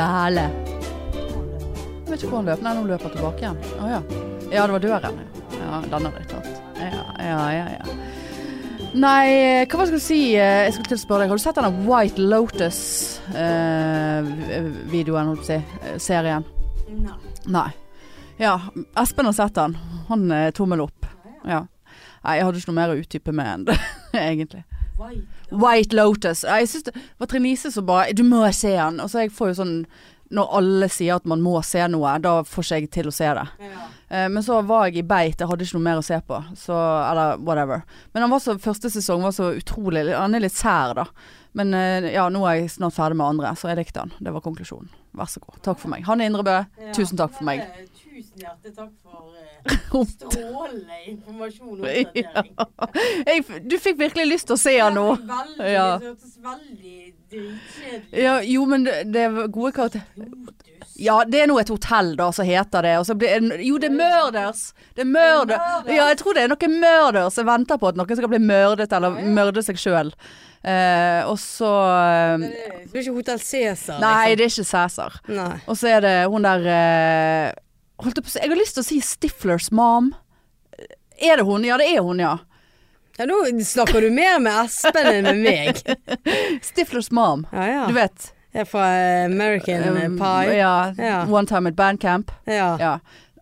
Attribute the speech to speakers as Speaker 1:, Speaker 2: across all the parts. Speaker 1: alle. Jeg vet ikke hvor han løp. Nei, nå løper han tilbake igjen. Å ja. Ja, det var døren. Ja, den hadde jeg tatt. Ja, ja, ja. ja. Nei, hva var det jeg skulle si? Eh, Jeg skulle til å spørre deg. Har du sett denne White Lotus-videoen, holdt jeg på å si? eh, Serien?
Speaker 2: Nei.
Speaker 1: Nei. Ja, Espen har sett den. Han er tommel opp. Ja. Nei, jeg hadde ikke noe mer å utdype med enn det, egentlig.
Speaker 2: White.
Speaker 1: White Lotus. Nei, Jeg synes det var Trine Lise som bare Du må se den. Og så jeg får jo sånn Når alle sier at man må se noe, da får ikke jeg til å se det.
Speaker 2: Ja.
Speaker 1: Eh, Men så var jeg i beit, jeg hadde ikke noe mer å se på. Så, eller whatever. Men han var så, første sesong var så utrolig Han er litt sær, da. Men eh, ja, nå er jeg snart ferdig med andre, så jeg likte han. Det var konklusjonen. Vær så god. Takk for meg. Hanne Indrebø,
Speaker 2: Ja.
Speaker 1: tusen takk for meg.
Speaker 2: Eh, Tusen hjertelig takk for eh, strålende informasjon og oppdatering.
Speaker 1: Jeg, f- du fikk virkelig lyst til å se han nå.
Speaker 2: Det var Veldig,
Speaker 1: Ja.
Speaker 2: Det hørtes veldig dritkjedelig
Speaker 1: Ja, jo, men det, det er gode karakterer
Speaker 2: Lotus.
Speaker 1: Ja, det er nå et hotell, da, som heter det. Og så blir Jo, det er Murders! Det er murder. Ja, jeg tror det er noe Murders. Jeg venter på at noen skal bli mørdet, eller mørde seg sjøl. Eh, og så ehm,
Speaker 2: Det er det er ikke Hotell Cæsar,
Speaker 1: Nei, det er ikke Cæsar.
Speaker 2: liksom. Nei.
Speaker 1: Og så er det hun der eh, Holdt jeg på å si Jeg har lyst til å si Stiflers mom. Eh, Er det hun? Ja, det er hun, ja.
Speaker 2: Ja, nå snakker du mer med Espen enn med meg.
Speaker 1: Stiflers mom.
Speaker 2: Ja, ja.
Speaker 1: Du vet.
Speaker 2: Jeg er fra eh, American eh,
Speaker 1: Um,
Speaker 2: Pie.
Speaker 1: Ja,
Speaker 2: Ja.
Speaker 1: One Time at Bandcamp.
Speaker 2: Ja.
Speaker 1: Ja.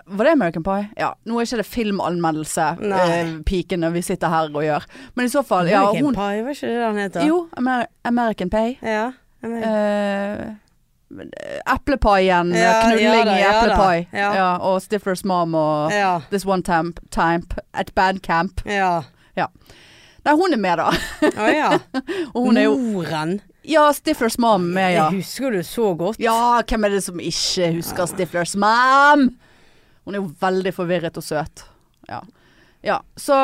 Speaker 1: Var det American Pie? Ja. Nå er ikke det filmanmeldelse,
Speaker 2: Nei.
Speaker 1: eh, piken når vi sitter her og gjør. Men i så fall ja,
Speaker 2: American
Speaker 1: hun,
Speaker 2: Pie, var ikke det den heter?
Speaker 1: Jo, Amer American Pie.
Speaker 2: Ja. American-
Speaker 1: Eh, men, eh, Eplepaien,
Speaker 2: Ja, ja
Speaker 1: knulling
Speaker 2: da,
Speaker 1: i
Speaker 2: ja da.
Speaker 1: eplepai.
Speaker 2: Ja.
Speaker 1: og Stiflers Mom og
Speaker 2: Ja.
Speaker 1: This One Time, time at Bandcamp.
Speaker 2: Ja.
Speaker 1: Nei, hun er med, da.
Speaker 2: Å ja.
Speaker 1: Og hun er
Speaker 2: Mm.
Speaker 1: jo
Speaker 2: Moren.
Speaker 1: Ja, Stiflers Mom er med, ja.
Speaker 2: Jeg husker du så godt.
Speaker 1: Ja, hvem er det som ikke husker Stiflers mom? Hun er jo veldig forvirret og søt. Ja, ja så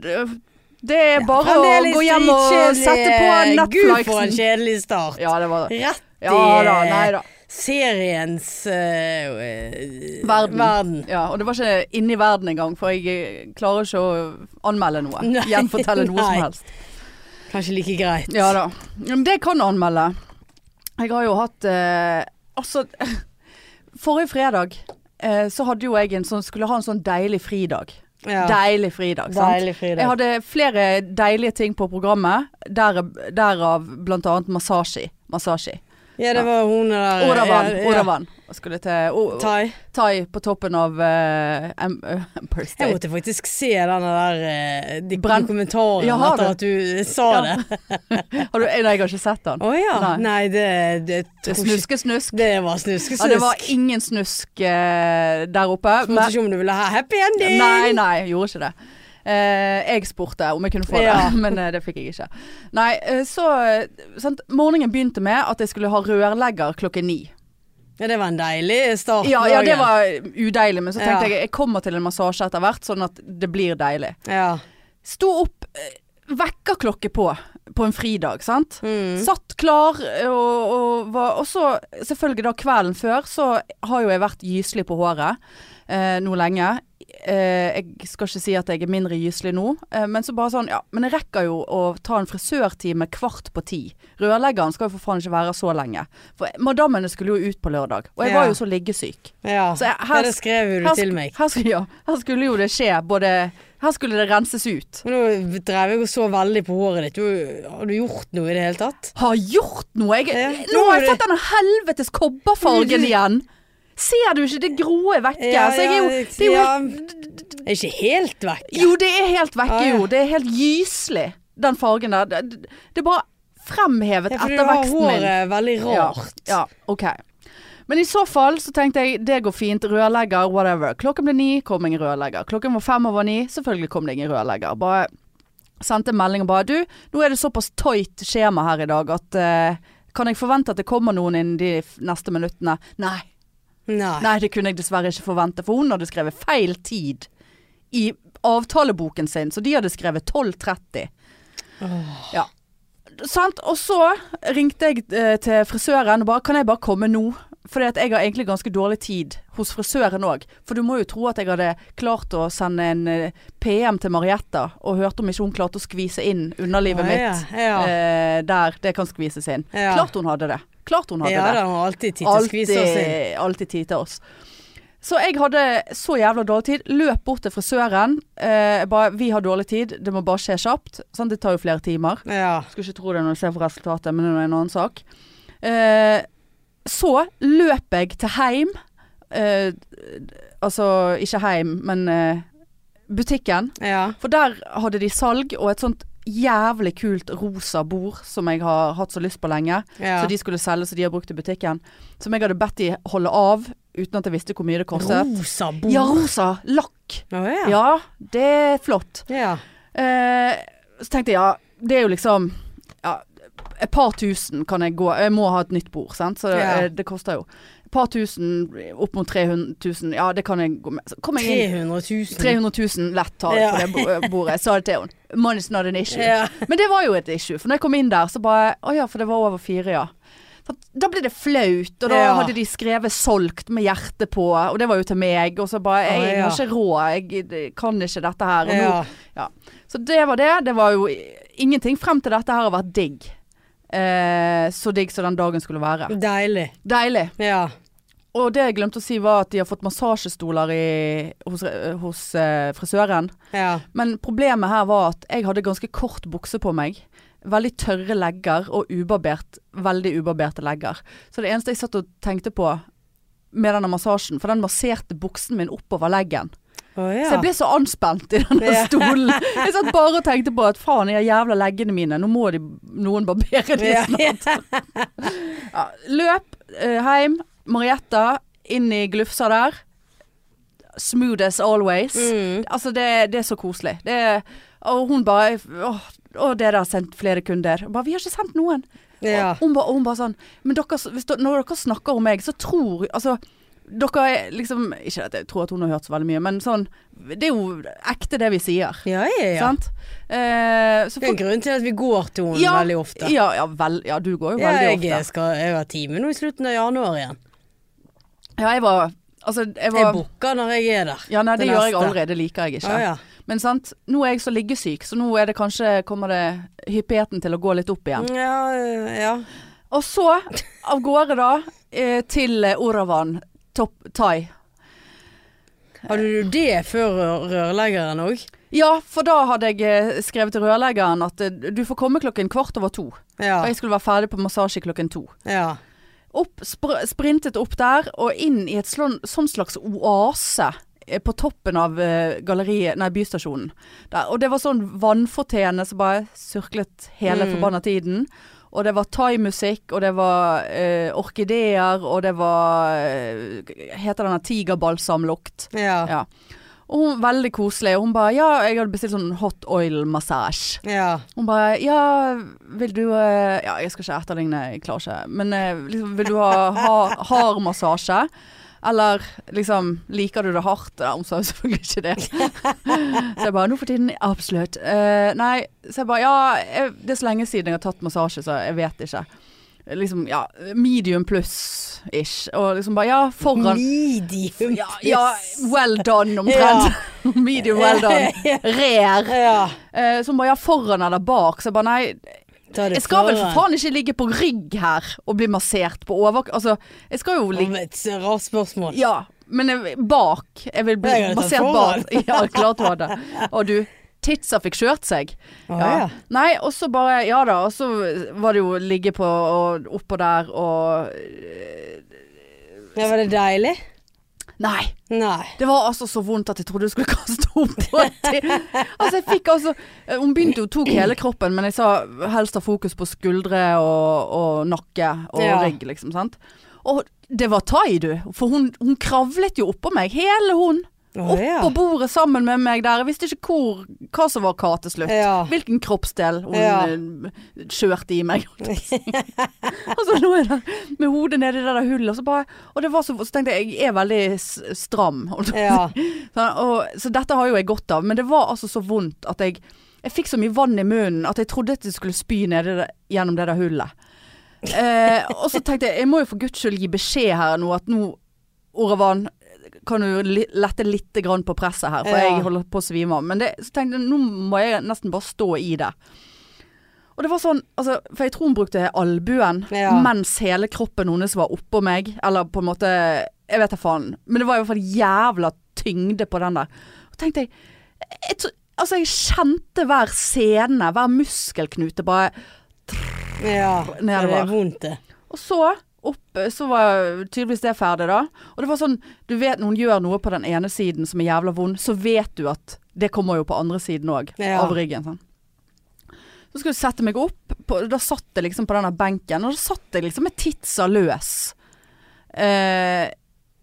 Speaker 1: d- det er bare å
Speaker 2: Fremdeles
Speaker 1: gå hjem og
Speaker 2: dritkjedelig.
Speaker 1: sette på
Speaker 2: eh, Gud, for en
Speaker 1: Netflixen.
Speaker 2: kjedelig start.
Speaker 1: Ja, det var
Speaker 2: Rett i
Speaker 1: Ja da, nei da.
Speaker 2: seriens eh,
Speaker 1: Verden.
Speaker 2: verden.
Speaker 1: Ja, og det var ikke inni verden engang, for jeg eh, klarer ikke å anmelde noe.
Speaker 2: Nei,
Speaker 1: Gjenfortelle noe
Speaker 2: nei.
Speaker 1: som helst.
Speaker 2: Kanskje like greit.
Speaker 1: Ja da. Men det kan jeg anmelde. Jeg har jo hatt eh, Altså, forrige fredag eh, så hadde jo jeg en sånn Skulle ha en sånn deilig fridag.
Speaker 2: Ja.
Speaker 1: Deilig fridag, sant?
Speaker 2: Deilig fridag.
Speaker 1: Jeg hadde flere deilige ting på programmet, der, derav blant annet massasje. Massasje.
Speaker 2: Ja, det var hun der eh,
Speaker 1: Oravan.
Speaker 2: ja, ja.
Speaker 1: Oravan. Jeg Skulle til o- o-
Speaker 2: Tai.
Speaker 1: Thai på toppen av eh, Em- eh, Empire
Speaker 2: Jeg
Speaker 1: State.
Speaker 2: måtte faktisk se den der eh, de
Speaker 1: Brenn-
Speaker 2: kommentaren
Speaker 1: Ja, har du?
Speaker 2: etter at du eh, sa
Speaker 1: Ja.
Speaker 2: det.
Speaker 1: Har du, nei, jeg har ikke sett den.
Speaker 2: Å ja.
Speaker 1: Nei.
Speaker 2: Nei, det, det,
Speaker 1: Det er
Speaker 2: tror ikke-
Speaker 1: Snuske-snusk.
Speaker 2: Det var snuskesnusk.
Speaker 1: Ja, det var ingen snusk eh, der oppe.
Speaker 2: Spurte ikke om du ville ha happy ending.
Speaker 1: Nei, nei, jeg gjorde ikke det. Eh, jeg spurte om jeg kunne få
Speaker 2: Ja.
Speaker 1: det, men eh, det fikk jeg ikke. Nei, eh, så eh, sant, Morgenen begynte med at jeg skulle ha rørlegger klokken ni.
Speaker 2: Ja, det var en deilig start. på
Speaker 1: Ja, ja, det
Speaker 2: dagen.
Speaker 1: var udeilig, men så tenkte
Speaker 2: Ja.
Speaker 1: jeg jeg kommer til en massasje etter hvert, sånn at det blir deilig.
Speaker 2: ja.
Speaker 1: Sto opp, eh, vekkerklokke på, på en fridag, sant.
Speaker 2: Mm.
Speaker 1: Satt klar, eh, og, og, var, og så selvfølgelig da kvelden før, så har jo jeg vært gyselig på håret eh, nå lenge. Eh, jeg skal ikke si at jeg er mindre gyselig nå, eh, men så bare sånn, ja, men jeg rekker jo å ta en frisørtime kvart på ti. Rørleggeren skal jo for faen ikke være så lenge. For madammene skulle jo ut på lørdag, og jeg
Speaker 2: Ja.
Speaker 1: var jo så liggesyk.
Speaker 2: Ja.
Speaker 1: Så jeg- her-
Speaker 2: ja, det skrev jo du
Speaker 1: Her
Speaker 2: til
Speaker 1: sk-
Speaker 2: meg.
Speaker 1: Her, sk- ja, her skulle jo det skje både Her skulle det renses ut.
Speaker 2: Men nå drev jeg og så veldig på håret ditt. Du, har du gjort noe i det hele tatt?
Speaker 1: Har gjort noe! Jeg,
Speaker 2: Ja,
Speaker 1: nå har jeg
Speaker 2: gjorde
Speaker 1: fått denne helvetes kobberfargen igjen! Ser du ikke? Det grå er vekke. så jeg er jo, det er jo,
Speaker 2: ja, jeg er ikke helt vekk.
Speaker 1: jo, det er helt vekke,
Speaker 2: Ja, ja.
Speaker 1: jo. Det er helt gyselig, den fargen der. Det- Det, det er bare fremhevet
Speaker 2: Ja, for du har
Speaker 1: etterveksten min.
Speaker 2: håret veldig rart.
Speaker 1: Ja, ja, ok. Men i så fall så tenkte jeg det går fint, rørlegger, whatever. Klokken ble ni, kom ingen rørlegger. Klokken var fem over ni, selvfølgelig kom det ingen rørlegger. Bare sendte en melding og bare du, nå er det såpass tight skjema her i dag at eh, kan jeg forvente at det kommer noen innen de f- neste minuttene? Nei.
Speaker 2: Nei.
Speaker 1: Nei, det kunne jeg dessverre ikke forvente, for hun hadde skrevet feil tid i avtaleboken sin, så de hadde skrevet 12.30. Ja. Sant? Og så ringte jeg eh, til frisøren og bare Kan jeg bare komme nå? Fordi at jeg har egentlig ganske dårlig tid hos frisøren òg. For du må jo tro at jeg hadde klart å sende en eh, PM til Marietta og hørte om ikke hun klarte å skvise inn underlivet
Speaker 3: Å, ja,
Speaker 1: mitt
Speaker 3: ja.
Speaker 1: eh, der det kan skvises inn.
Speaker 3: Ja.
Speaker 1: Klart hun hadde det. Klart hun hadde
Speaker 3: ja
Speaker 1: det
Speaker 3: da, han har alltid tid til å skvise oss inn.
Speaker 1: alltid tid til oss. Så jeg hadde så jævla dårlig tid. Løp bort til frisøren. Eh, bare, vi har dårlig tid, det må bare skje kjapt. Sant? det tar jo flere timer.
Speaker 3: Ja.
Speaker 1: Skulle ikke tro det når du ser på resultatet, men det er nå en annen sak. Eh, så løp jeg til heim. Eh, altså ikke heim, men eh, butikken.
Speaker 3: ja.
Speaker 1: For der hadde de salg og et sånt jævlig kult rosa bord som jeg har hatt så lyst på lenge.
Speaker 3: ja.
Speaker 1: Så de skulle selge, så de har brukt i butikken. Som jeg hadde bedt de holde av, uten at jeg visste hvor mye det kostet.
Speaker 3: Rosa bord.
Speaker 1: Ja, rosa lakk.
Speaker 3: Å, ja.
Speaker 1: Ja, det er flott.
Speaker 3: Ja.
Speaker 1: Eh, så tenkte jeg, ja, det er jo liksom ja, Et par tusen kan jeg gå Jeg må ha et nytt bord, sant? så det,
Speaker 3: Ja.
Speaker 1: eh, det koster jo. Et par tusen, opp mot 300 000, ja det kan jeg gå med. Så kom jeg inn.
Speaker 3: 300 000.
Speaker 1: 300 000 lett tall
Speaker 3: Ja.
Speaker 1: på det bo- bordet. Jeg sa det til henne. Money's not an issue.
Speaker 3: Ja.
Speaker 1: Men det var jo et issue, for når jeg kom inn der, så bare Å ja, for det var over fire, ja. Så Da ble det flaut, og da
Speaker 3: Ja.
Speaker 1: hadde de skrevet 'solgt' med hjertet på, og det var jo til meg, og så bare Jeg,
Speaker 3: Å, ja.
Speaker 1: har ikke råd, jeg eh, kan ikke dette her. Og nå,
Speaker 3: Ja.
Speaker 1: så det var det. Det var jo i- ingenting frem til dette her har vært digg. Eh, så digg som den dagen skulle være.
Speaker 3: Deilig.
Speaker 1: Deilig.
Speaker 3: Ja.
Speaker 1: Og det jeg glemte å si var at de har fått massasjestoler i, hos, eh, hos eh, frisøren.
Speaker 3: Ja.
Speaker 1: Men problemet her var at jeg hadde ganske kort bukse på meg. Veldig tørre legger og ubarbert, veldig ubarberte legger. Så det eneste jeg satt og tenkte på med denne massasjen, for den masserte buksen min oppover leggen.
Speaker 3: Å
Speaker 1: Så jeg
Speaker 3: ja.
Speaker 1: ble så anspent i denne
Speaker 3: Ja.
Speaker 1: stolen. Jeg satt bare og tenkte på at faen, de jævla leggene mine, nå må de, noen barbere de
Speaker 3: Ja.
Speaker 1: snart. Ja, løp eh, hjem, Marietta, inn i glufsa der. Smooth as always.
Speaker 3: Mm.
Speaker 1: Altså, det, det er så koselig. Det, er- og hun bare åh, åh, dere har sendt flere kunder. Jeg Bare, vi har ikke sendt noen.
Speaker 3: Ja.
Speaker 1: Og hun bare, og hun bare sånn Men dere, hvis dere, når dere snakker om meg, så tror Altså, dere er liksom Ikke at jeg tror at hun har hørt så veldig mye, men sånn Det er jo ekte det vi sier.
Speaker 3: Ja, ja, ja.
Speaker 1: Sant? Eh, så
Speaker 3: Det er en
Speaker 1: folk
Speaker 3: grunn til at vi går til henne
Speaker 1: Ja,
Speaker 3: veldig ofte.
Speaker 1: ja, ja, vel, ja, du går jo
Speaker 3: Ja,
Speaker 1: veldig
Speaker 3: jeg,
Speaker 1: ofte.
Speaker 3: skal, jeg har time nå i slutten av januar igjen.
Speaker 1: Ja, jeg var Altså, jeg
Speaker 3: Jeg
Speaker 1: var
Speaker 3: booker når jeg er der.
Speaker 1: Ja, nei, det
Speaker 3: Det
Speaker 1: gjør jeg
Speaker 3: neste.
Speaker 1: aldri. Det liker jeg ikke.
Speaker 3: Å ja.
Speaker 1: Men sant, nå er jeg så liggesyk, så nå er det kanskje Kommer det hyppigheten til å gå litt opp igjen.
Speaker 3: Ja, eh, ja.
Speaker 1: Og så av gårde da eh, til eh, Oravan Top Thai.
Speaker 3: Hadde du det før rør- rørleggeren òg?
Speaker 1: Ja, for da hadde jeg eh, skrevet til rørleggeren at eh, du får komme klokken kvart over to.
Speaker 3: Ja.
Speaker 1: Og jeg skulle være ferdig på massasje klokken to.
Speaker 3: ja.
Speaker 1: Opp, spr sprintet opp der og inn i et slån, sånn slags oase eh, på toppen av eh, galleriet, nei, bystasjonen. Der. Og det var sånn vannfortene som bare surklet hele
Speaker 3: Mm.
Speaker 1: forbanna tiden. Og det var thaimusikk, og det var eh, orkideer, og det var eh, Heter denne tigerbalsamlukt.
Speaker 3: Ja.
Speaker 1: Ja. Og hun veldig koselig. Og hun bare Ja, jeg hadde bestilt sånn hot oil massage.
Speaker 3: Ja.
Speaker 1: Hun bare Ja, vil du eh, Ja, jeg skal ikke etterligne, jeg klarer ikke. Men eh, liksom, vil du ha ha- hard massasje? Eller liksom Liker du det hardt? Ja, hun sa jo selvfølgelig ikke det. Så jeg bare Nå for tiden Absolutt. Eh, nei, så jeg bare Ja, jeg, det er så lenge siden jeg har tatt massasje, så jeg vet ikke. Liksom, ja, medium pluss ish. Og liksom bare Ja, foran
Speaker 3: Medium.
Speaker 1: ja, ja, well done
Speaker 3: Ja.
Speaker 1: omtrent. Medium well done. Rare.
Speaker 3: ja.
Speaker 1: Eh, som bare ja, foran eller bak. Så jeg bare nei,
Speaker 3: Ta det
Speaker 1: jeg skal vel
Speaker 3: foran.
Speaker 1: for faen ikke ligge på rygg her og bli massert på over... Altså, jeg skal jo ligge
Speaker 3: Om et s- rart spørsmål.
Speaker 1: Ja, men jeg, bak. Jeg vil bli
Speaker 3: Jeg hadde tatt
Speaker 1: massert
Speaker 3: foran.
Speaker 1: bak. Ja, klart du hadde. Og du, titsa fikk kjørt seg.
Speaker 3: Å,
Speaker 1: Ja.
Speaker 3: ja.
Speaker 1: Nei, og så bare Ja da, og så var det jo ligge på og oppå der og
Speaker 3: Ja, var det deilig?
Speaker 1: Nei.
Speaker 3: Nei.
Speaker 1: Det var altså så vondt at jeg trodde jeg skulle kaste opp. på det. Altså jeg fikk altså eh, Hun begynte jo tok hele kroppen, men jeg sa helst ha fokus på skuldre og, og nakke og
Speaker 3: Ja.
Speaker 1: rygg, liksom. sant? Og det var thai, du. For hun, hun kravlet jo oppå meg. Hele hun.
Speaker 3: Å,
Speaker 1: Opp
Speaker 3: ja.
Speaker 1: på bordet sammen med meg der. Jeg visste ikke hvor, hva som var hva til slutt.
Speaker 3: Ja.
Speaker 1: Hvilken kroppsdel hun
Speaker 3: Ja.
Speaker 1: eh, kjørte i meg. og så lå jeg der med hodet nedi det der hullet, og så bare Og det var så, så tenkte jeg jeg er veldig s- stram. Og
Speaker 3: Ja.
Speaker 1: Sånn, og, så dette har jo jeg godt av, men det var altså så vondt at jeg Jeg fikk så mye vann i munnen at jeg trodde at jeg skulle spy nede det- gjennom det der hullet. Eh, og så tenkte jeg jeg må jo for guds skyld gi beskjed her nå at nå, Oravan, kan du li lette litt grann på presset her, for
Speaker 2: Ja.
Speaker 1: jeg holder på å svime av. Men det, så tenkte jeg nå må jeg nesten bare stå i det. Og det var sånn, altså, for jeg tror hun brukte albuen
Speaker 2: Ja.
Speaker 1: mens hele kroppen hennes var oppå meg. Eller på en måte Jeg vet da faen. Men det var i hvert fall jævla tyngde på den der. Og tenkte jeg, jeg tro- Altså, jeg kjente hver scene, hver muskelknute bare
Speaker 2: Ja.
Speaker 1: Nedover.
Speaker 2: Det er vondt, det.
Speaker 1: Og så opp, eh, så var tydeligvis det ferdig da. Og det var sånn, du vet når hun gjør noe på den ene siden som er jævla vond, så vet du at det kommer jo på andre siden òg,
Speaker 2: Ja.
Speaker 1: av ryggen. Sånn. Så skulle jeg sette meg opp, på, da satt jeg liksom på denne benken, og da satt jeg liksom med titsa løs. Eh,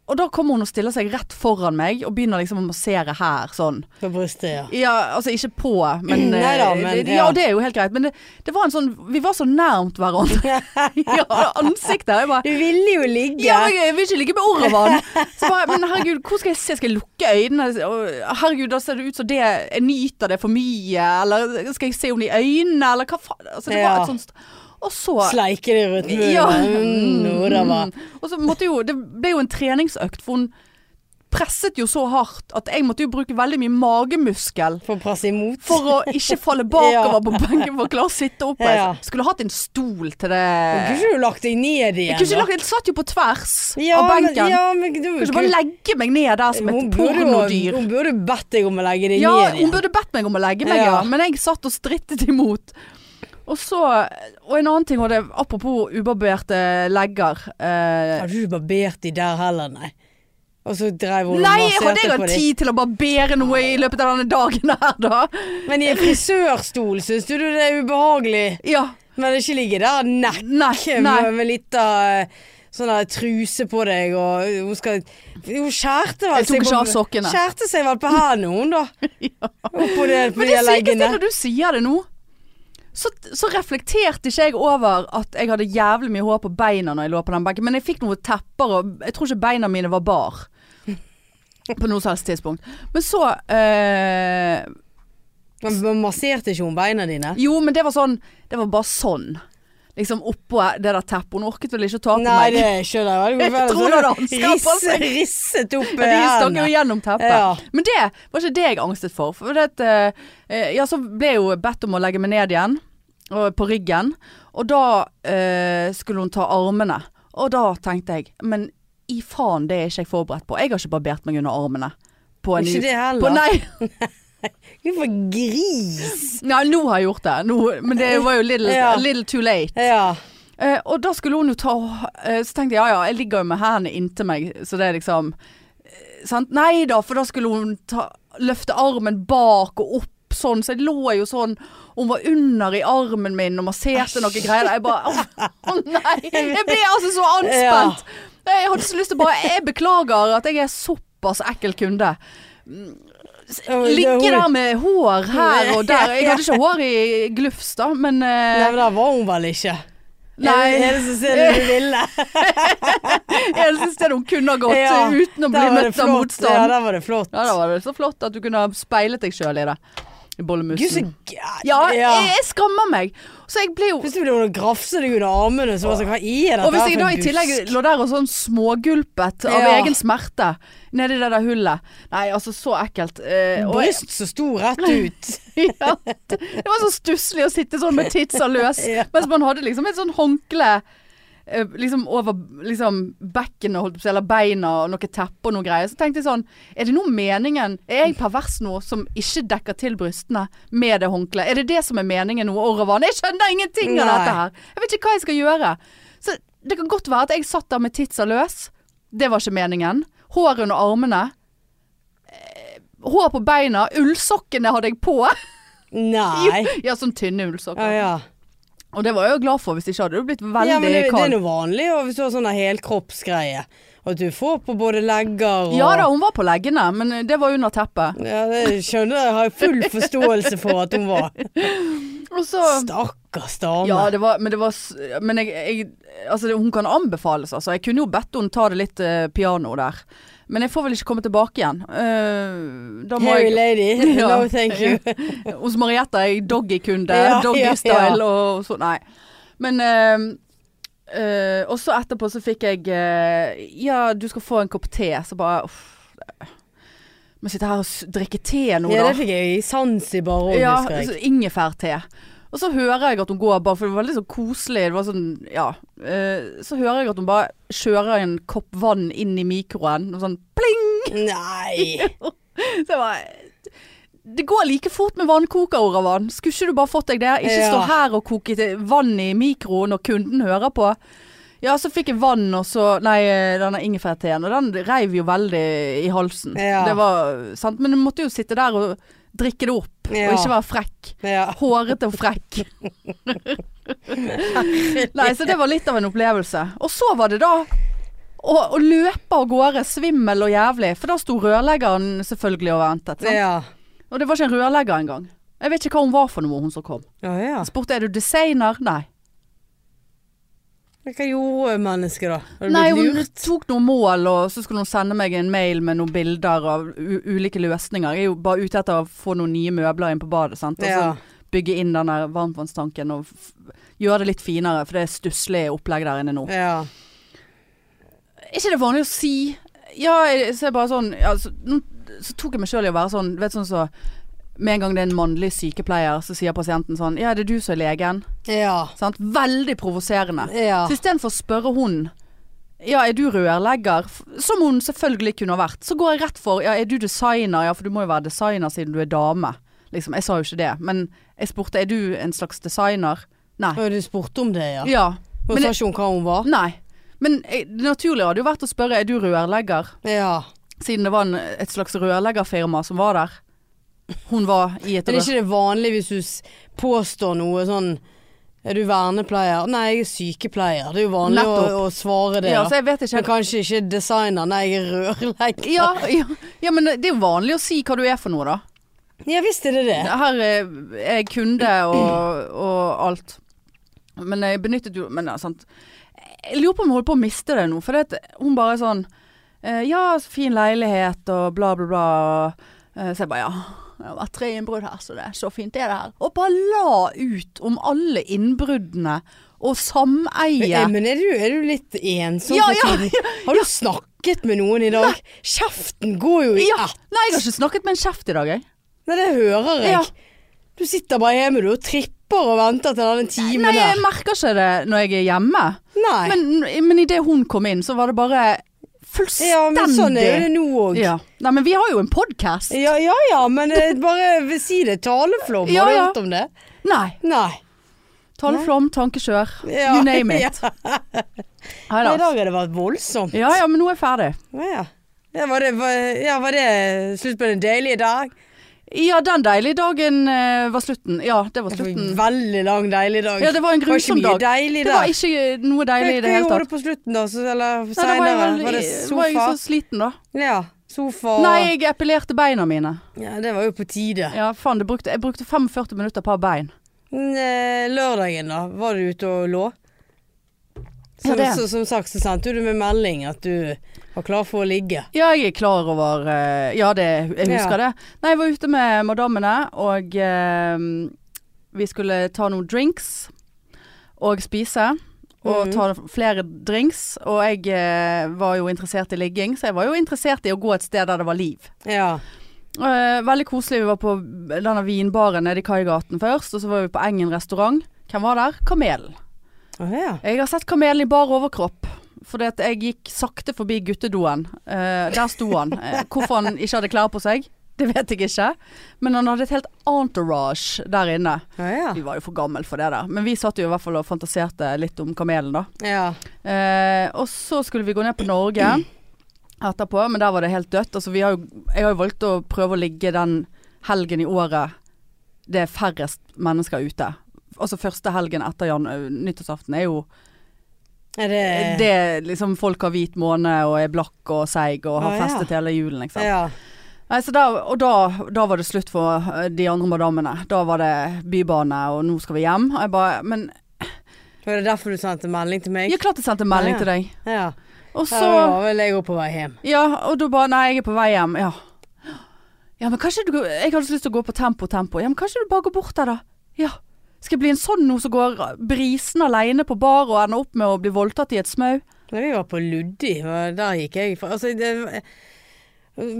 Speaker 1: og da kommer hun og stiller seg rett foran meg og begynner liksom å massere her, sånn.
Speaker 2: På brystet, ja.
Speaker 1: Ja, altså ikke på, men, eh,
Speaker 2: Mm, Neida, men,
Speaker 1: det, ja.
Speaker 2: ja.
Speaker 1: det er jo helt greit. Men det, det var en sånn Vi var så nærmt hverandre. ja, ansiktet. Jeg bare
Speaker 2: Du ville jo ligge.
Speaker 1: ja, men jeg vil ikke ligge med Oravan. Så bare, men herregud, hvor skal jeg se? Skal jeg lukke øynene? Og Herregud, da ser det ut som det Jeg nyter det for mye. Eller skal jeg se henne i øynene, eller hva faen? Altså, det var
Speaker 2: Ja.
Speaker 1: et sånt Og så
Speaker 2: Sleike det rundt munnen.
Speaker 1: Ja.
Speaker 2: Mm, nå da var.
Speaker 1: Og så måtte jo Det ble jo en treningsøkt, for hun presset jo så hardt at jeg måtte jo bruke veldig mye magemuskel.
Speaker 2: For å presse imot.
Speaker 1: For å ikke falle bakover på benken for å klare å sitte opp.
Speaker 2: Ja.
Speaker 1: Skulle hatt en stol til det.
Speaker 2: Kunne ikke du lagt deg ned igjen?
Speaker 1: Jeg kunne ikke
Speaker 2: da?
Speaker 1: lagt, jeg satt jo på tvers
Speaker 2: ja,
Speaker 1: av benken.
Speaker 2: Men, ja, men du,
Speaker 1: Kan ikke bare legge meg ned der som et
Speaker 2: Hun burde jo-
Speaker 1: pornodyr.
Speaker 2: Hun burde bedt deg om å legge deg
Speaker 1: Ja,
Speaker 2: ned
Speaker 1: hun
Speaker 2: igjen.
Speaker 1: burde bedt meg om å legge meg, ja.
Speaker 2: Ja.
Speaker 1: Men jeg satt og strittet imot. Og så Og en annen ting, og det er apropos ubarberte legger. Eh,
Speaker 2: Hadde du barbert de der heller, nei? Og så dreiv hun og
Speaker 1: nei, hadde jeg
Speaker 2: masserte på
Speaker 1: hatt
Speaker 2: de.
Speaker 1: tid til å barbere noe i løpet av denne dagen her, da?
Speaker 2: Men i en frisørstol, syns du det er ubehagelig?
Speaker 1: Ja.
Speaker 2: Men ikke ligge der nekk
Speaker 1: Nei. nei.
Speaker 2: med, med litt av sånn der truse på deg, og hun skal Hun skjærte vel
Speaker 1: Jeg tok
Speaker 2: seg
Speaker 1: ikke
Speaker 2: på-
Speaker 1: av sokkene.
Speaker 2: Skjærte seg vel på hendene, hun, da.
Speaker 1: Ja.
Speaker 2: Oppå det på
Speaker 1: Men
Speaker 2: de
Speaker 1: det sykeste
Speaker 2: leggene.
Speaker 1: er når du sier det nå. Så, så reflekterte ikke jeg over at jeg hadde jævlig mye hår på beina når jeg lå på den benken. Men jeg fikk noen tepper, og jeg tror ikke beina mine var bar. På noe som helst tidspunkt. Men så eh,
Speaker 2: Men men masserte ikke hun beina dine?
Speaker 1: Jo, men det var sånn Det var bare sånn. Liksom oppå det der teppet. Hun orket vel ikke å ta på
Speaker 2: Nei,
Speaker 1: meg.
Speaker 2: det skjønner jeg vel.
Speaker 1: Jeg tror da han skal på seg.
Speaker 2: Risse- Risset opp
Speaker 1: Ja, de stakk jo
Speaker 2: hendene.
Speaker 1: gjennom teppet.
Speaker 2: Ja.
Speaker 1: Men det var ikke det jeg angstet for. For det at, eh, ja, så ble jeg jo bedt om å legge meg ned igjen, og, på ryggen. Og da eh, skulle hun ta armene. Og da tenkte jeg, men i faen, det er ikke jeg forberedt på. Jeg har ikke barbert meg under armene. På en
Speaker 2: Ikke det heller.
Speaker 1: På, nei,
Speaker 2: Hun var gris.
Speaker 1: nei, nå har jeg gjort det. Nå, men det var jo little,
Speaker 2: Ja.
Speaker 1: little too late.
Speaker 2: Ja.
Speaker 1: Eh, og da skulle hun jo ta eh, Så tenkte jeg ja ja, jeg ligger jo med hendene inntil meg, så det er liksom eh, sant? Nei da, for da skulle hun ta, løfte armen bak og opp sånn, så jeg lå jo sånn Hun var under i armen min og masserte noe greier. Jeg bare Å nei! Jeg ble altså så anspent. Jeg hadde så lyst til å bare Jeg beklager at jeg er såpass ekkel kunde. Ligge der med hår her og der. Jeg hadde ikke hår i glufs, da, men eh,
Speaker 2: Nei, men da var hun vel ikke.
Speaker 1: Nei.
Speaker 2: Det er det som ser det du ville.
Speaker 1: Eneste stedet hun kunne ha gått
Speaker 2: Ja,
Speaker 1: uten å bli
Speaker 2: Der var det
Speaker 1: møtt av
Speaker 2: flott.
Speaker 1: motstand.
Speaker 2: Ja,
Speaker 1: Ja, da.
Speaker 2: der var det flott.
Speaker 1: var det så flott at du kunne ha speilet deg sjøl i det. I
Speaker 2: Gud, så
Speaker 1: bollemusen.
Speaker 2: gæ-
Speaker 1: Ja, jeg, jeg skammer meg. Så jeg ble jo
Speaker 2: Hvis du ble hun grafset deg under armene, så var det sånn, hva er dette
Speaker 1: Og hvis
Speaker 2: her
Speaker 1: jeg
Speaker 2: for
Speaker 1: da
Speaker 2: en
Speaker 1: i tillegg
Speaker 2: busk?
Speaker 1: lå der og sånn smågulpet av
Speaker 2: Ja.
Speaker 1: egen smerte nedi det der hullet Nei, altså, så ekkelt. Eh, og jeg,
Speaker 2: Bryst så sto rett ut.
Speaker 1: ja, det det var så stusslig å sitte sånn med titsa løs,
Speaker 2: Ja.
Speaker 1: mens man hadde liksom et sånn håndkle eh, liksom over liksom bekkenet, holdt jeg på å si, eller beina, og noe teppe og noe greier. Så tenkte jeg sånn Er det noe meningen Er jeg pervers nå som ikke dekker til brystene med det håndkleet? Er det det som er meningen nå, Orvan? Jeg skjønner ingenting av
Speaker 2: Nei.
Speaker 1: dette her. Jeg vet ikke hva jeg skal gjøre. Så det kan godt være at jeg satt der med titsa løs. Det var ikke meningen. Hår under armene. Eh, Hår på beina. Ullsokkene hadde jeg på.
Speaker 2: Nei.
Speaker 1: Ja, sånn tynne ullsokker.
Speaker 2: Ja, ja.
Speaker 1: Og det var jeg jo glad for, hvis ikke hadde du blitt veldig
Speaker 2: ja, men det, det er
Speaker 1: kald.
Speaker 2: noe vanlig og hvis du har sånn helkroppsgreie. At du får på både legger og
Speaker 1: Ja da, hun var på leggene, men det var under teppet.
Speaker 2: Ja, det skjønner jeg. Jeg har full forståelse for at hun var
Speaker 1: Og så
Speaker 2: Stakkars dame.
Speaker 1: Ja, det var Men det var s- Men jeg, jeg Altså, det, hun kan anbefales, altså. Jeg kunne jo bedt henne ta det litt eh, piano der. Men jeg får vel ikke komme tilbake igjen. Eh, da må
Speaker 2: Hairy
Speaker 1: jeg
Speaker 2: lady.
Speaker 1: Ja.
Speaker 2: No, thank you.
Speaker 1: Hos Marietta er jeg doggykunde.
Speaker 2: Ja, ja,
Speaker 1: Doggystyle og så Nei. Men eh, Eh, og så etterpå så fikk jeg eh, Ja, du skal få en kopp te. Så bare uff. det- Må sitte her og s- drikke te nå,
Speaker 2: Ja,
Speaker 1: da.
Speaker 2: det fikk jeg i Zanzibar òg,
Speaker 1: Ja, altså-
Speaker 2: husker jeg.
Speaker 1: så ingefærte. Og så hører jeg at hun går bare, for det var litt så koselig. Det var sånn, ja. Eh, så hører jeg at hun bare kjører en kopp vann inn i mikroen. Og sånn pling!
Speaker 2: Nei!
Speaker 1: Så jeg bare Det går like fort med vannkoker, Oravan. Skulle ikke du bare fått deg det? Ikke stå
Speaker 2: Ja.
Speaker 1: her og koke til vann i mikroen når kunden hører på. Ja, så fikk jeg vann og så Nei, eh, denne ingefærteen. Og den reiv jo veldig i halsen.
Speaker 2: Ja.
Speaker 1: Det var sant. Men du måtte jo sitte der og drikke det opp,
Speaker 2: Ja.
Speaker 1: og ikke være frekk.
Speaker 2: Ja.
Speaker 1: Hårete og frekk. Nei, så det var litt av en opplevelse. Og så var det da å, å løpe av gårde, svimmel og jævlig. For da sto rørleggeren selvfølgelig og ventet. Sant?
Speaker 2: Ja.
Speaker 1: Og det var ikke en rørlegger engang. Jeg vet ikke hva hun var for noe, hun som kom.
Speaker 2: Å ja.
Speaker 1: Jeg spurte er du designer. Nei.
Speaker 2: Men Hva gjorde mennesket da? Har du
Speaker 1: Nei,
Speaker 2: blitt
Speaker 1: hun
Speaker 2: lurt?
Speaker 1: tok noen mål, og så skulle hun sende meg en mail med noen bilder av u ulike løsninger. Jeg er jo bare ute etter å få noen nye møbler inn på badet. Sant? Og så
Speaker 2: Ja.
Speaker 1: bygge inn den der varmtvannstanken og f gjøre det litt finere, for det er stusslig opplegg der inne nå.
Speaker 2: Ja.
Speaker 1: Er ikke det vanlig å si Ja, jeg- så er jeg bare sånn ja, så, nå, så tok jeg meg sjøl i å være sånn, du vet sånn så Med en gang det er en mannlig sykepleier, så sier pasienten sånn Ja, det er du som er legen.
Speaker 2: Ja.
Speaker 1: Sant? Veldig provoserende.
Speaker 2: Ja.
Speaker 1: Så istedenfor å spørre hun ja, er du rørlegger? F- Som hun selvfølgelig kunne ha vært. Så går jeg rett for ja, er du designer? Ja, for du må jo være designer siden du er dame. Liksom, jeg sa jo ikke det, men jeg spurte er du en slags designer? Nei.
Speaker 2: Å, Du spurte om det, ja.
Speaker 1: Ja.
Speaker 2: Hun
Speaker 1: Men
Speaker 2: sa
Speaker 1: jeg,
Speaker 2: ikke hun hva hun var?
Speaker 1: nei. Men jeg, det naturlige hadde jo vært å spørre er du rørlegger,
Speaker 2: Ja.
Speaker 1: siden det var en, et slags rørleggerfirma som var der. Hun var i et
Speaker 2: Men er
Speaker 1: rør...
Speaker 2: ikke det vanlig hvis du s- påstår noe sånn Er du vernepleier? Nei, jeg er sykepleier. Det er jo vanlig å, å
Speaker 1: Nettopp.
Speaker 2: svare det.
Speaker 1: Ja, så
Speaker 2: da.
Speaker 1: jeg vet ikke
Speaker 2: Men kanskje ikke designer. Nei, jeg er rørlegger.
Speaker 1: ja, ja, ja, men det er jo vanlig å si hva du er for noe, da.
Speaker 2: Ja visst er det det.
Speaker 1: Her eh, er jeg kunde og, og alt. Men jeg benyttet jo Men ja, sant. Jeg lurer på om jeg holder på å miste det nå. For det at hun bare er sånn eh, Ja, så fin leilighet og bla, bla, bla. Eh, Så jeg bare ja. Det har vært tre innbrudd her, så det er så fint det er det her. Og bare la ut om alle innbruddene og sameie.
Speaker 2: Eh, Men, men er, du, er du litt ensom
Speaker 1: Ja,
Speaker 2: for
Speaker 1: ja,
Speaker 2: tiden? Har du snakket med noen i dag? Kjeften går jo i
Speaker 1: Ja.
Speaker 2: ett.
Speaker 1: Nei, jeg har ikke snakket med en kjeft i dag, jeg.
Speaker 2: Nei, det hører jeg.
Speaker 1: Ja.
Speaker 2: Du sitter bare hjemme du og tripper og venter til den timen
Speaker 1: Nei, jeg
Speaker 2: der.
Speaker 1: merker ikke det når jeg er hjemme.
Speaker 2: Nei.
Speaker 1: Men, men idet hun kom inn, så var det bare fullstendig
Speaker 2: ja, men sånn er det nå òg.
Speaker 1: Ja. Nei, men vi har jo en podkast.
Speaker 2: Ja, ja ja, men eh, bare si det. Taleflom,
Speaker 1: Ja,
Speaker 2: har du
Speaker 1: ja.
Speaker 2: hørt om det?
Speaker 1: Nei.
Speaker 2: Nei.
Speaker 1: Taleflom, tankekjør.
Speaker 2: Ja.
Speaker 1: You name it.
Speaker 2: Ja.
Speaker 1: Nei
Speaker 2: I
Speaker 1: da.
Speaker 2: dag har det vært voldsomt.
Speaker 1: Ja ja, men nå er jeg ferdig.
Speaker 2: Ja. Ja, var det, var, ja, var det slutt på den deilige dag?
Speaker 1: Ja, den deilige dagen eh, var slutten. Ja, det var slutten.
Speaker 2: Veldig lang deilig dag.
Speaker 1: Ja, det var en grusom
Speaker 2: Det var
Speaker 1: dag.
Speaker 2: ikke mye deilig
Speaker 1: Det
Speaker 2: da.
Speaker 1: var ikke eh, noe deilig i det
Speaker 2: Hva
Speaker 1: hele
Speaker 2: gjorde du
Speaker 1: tatt.
Speaker 2: på slutten da, så, eller
Speaker 1: Nei, da var jeg,
Speaker 2: seinere?
Speaker 1: vel-
Speaker 2: Var det
Speaker 1: var jeg
Speaker 2: sofa?
Speaker 1: så sliten, da.
Speaker 2: Ja, sofa
Speaker 1: Nei, jeg epilerte beina mine.
Speaker 2: Ja, det var jo på tide.
Speaker 1: Ja, faen, det brukte, jeg brukte 45 minutter på bein.
Speaker 2: Men, eh, Lørdagen da, var du ute og lå? Som,
Speaker 1: det.
Speaker 2: så, som sagt så sendte du meg melding at du var klar for å ligge.
Speaker 1: Ja, jeg er klar over eh, Ja, det, jeg husker det. Nei, jeg var ute med madammene, og eh, vi skulle ta noen drinks og spise. Og
Speaker 2: Mhm.
Speaker 1: ta flere drinks. Og jeg eh, var jo interessert i ligging, så jeg var jo interessert i å gå et sted der det var liv.
Speaker 2: Ja.
Speaker 1: Eh, veldig koselig. Vi var på denne vinbaren nede i Kaigaten først, og så var vi på Engen restaurant. Hvem var der? Kamelen.
Speaker 2: Å ja.
Speaker 1: Jeg har sett kamelen i bar overkropp. Fordi at jeg gikk sakte forbi guttedoen. Eh, der sto han. Eh, hvorfor han ikke hadde klær på seg, det vet jeg ikke. Men han hadde et helt entourage der inne.
Speaker 2: Å ja.
Speaker 1: Vi var jo for gammel for det der. Men vi satt jo i hvert fall og fantaserte litt om kamelen, da.
Speaker 2: ja.
Speaker 1: Eh, og så skulle vi gå ned på Norge etterpå, men der var det helt dødt. Altså, vi har jo, jeg har jo valgt å prøve å ligge den helgen i året det er færrest mennesker ute. Altså første helgen etter jan nyttårsaften er jo
Speaker 2: Er det,
Speaker 1: det er liksom folk har hvit måne og er blakk og seig og har
Speaker 2: Å, Ah, ja.
Speaker 1: festet hele julen, liksom.
Speaker 2: Ja.
Speaker 1: Nei, så da, og da, da var det slutt for eh, de andre madammene. Da var det bybane, og nå skal vi hjem. Og jeg bare Men
Speaker 2: Var det derfor du sendte melding til meg?
Speaker 1: jeg klart jeg sendte melding
Speaker 2: Ja.
Speaker 1: til deg.
Speaker 2: Ja.
Speaker 1: Og
Speaker 2: Så
Speaker 1: så
Speaker 2: var vel jeg òg på vei hjem.
Speaker 1: Ja, og da bare Nei, jeg er på vei hjem. Ja. Ja, men kanskje du Jeg hadde så lyst til å gå på Tempo Tempo. Ja, men kanskje du bare går bort der, da. Ja. Skal jeg bli en sånn nå som går brisen aleine på bar og ender opp med å bli voldtatt i et smau?
Speaker 2: Da vi var på Luddi, og der gikk jeg fra Altså, det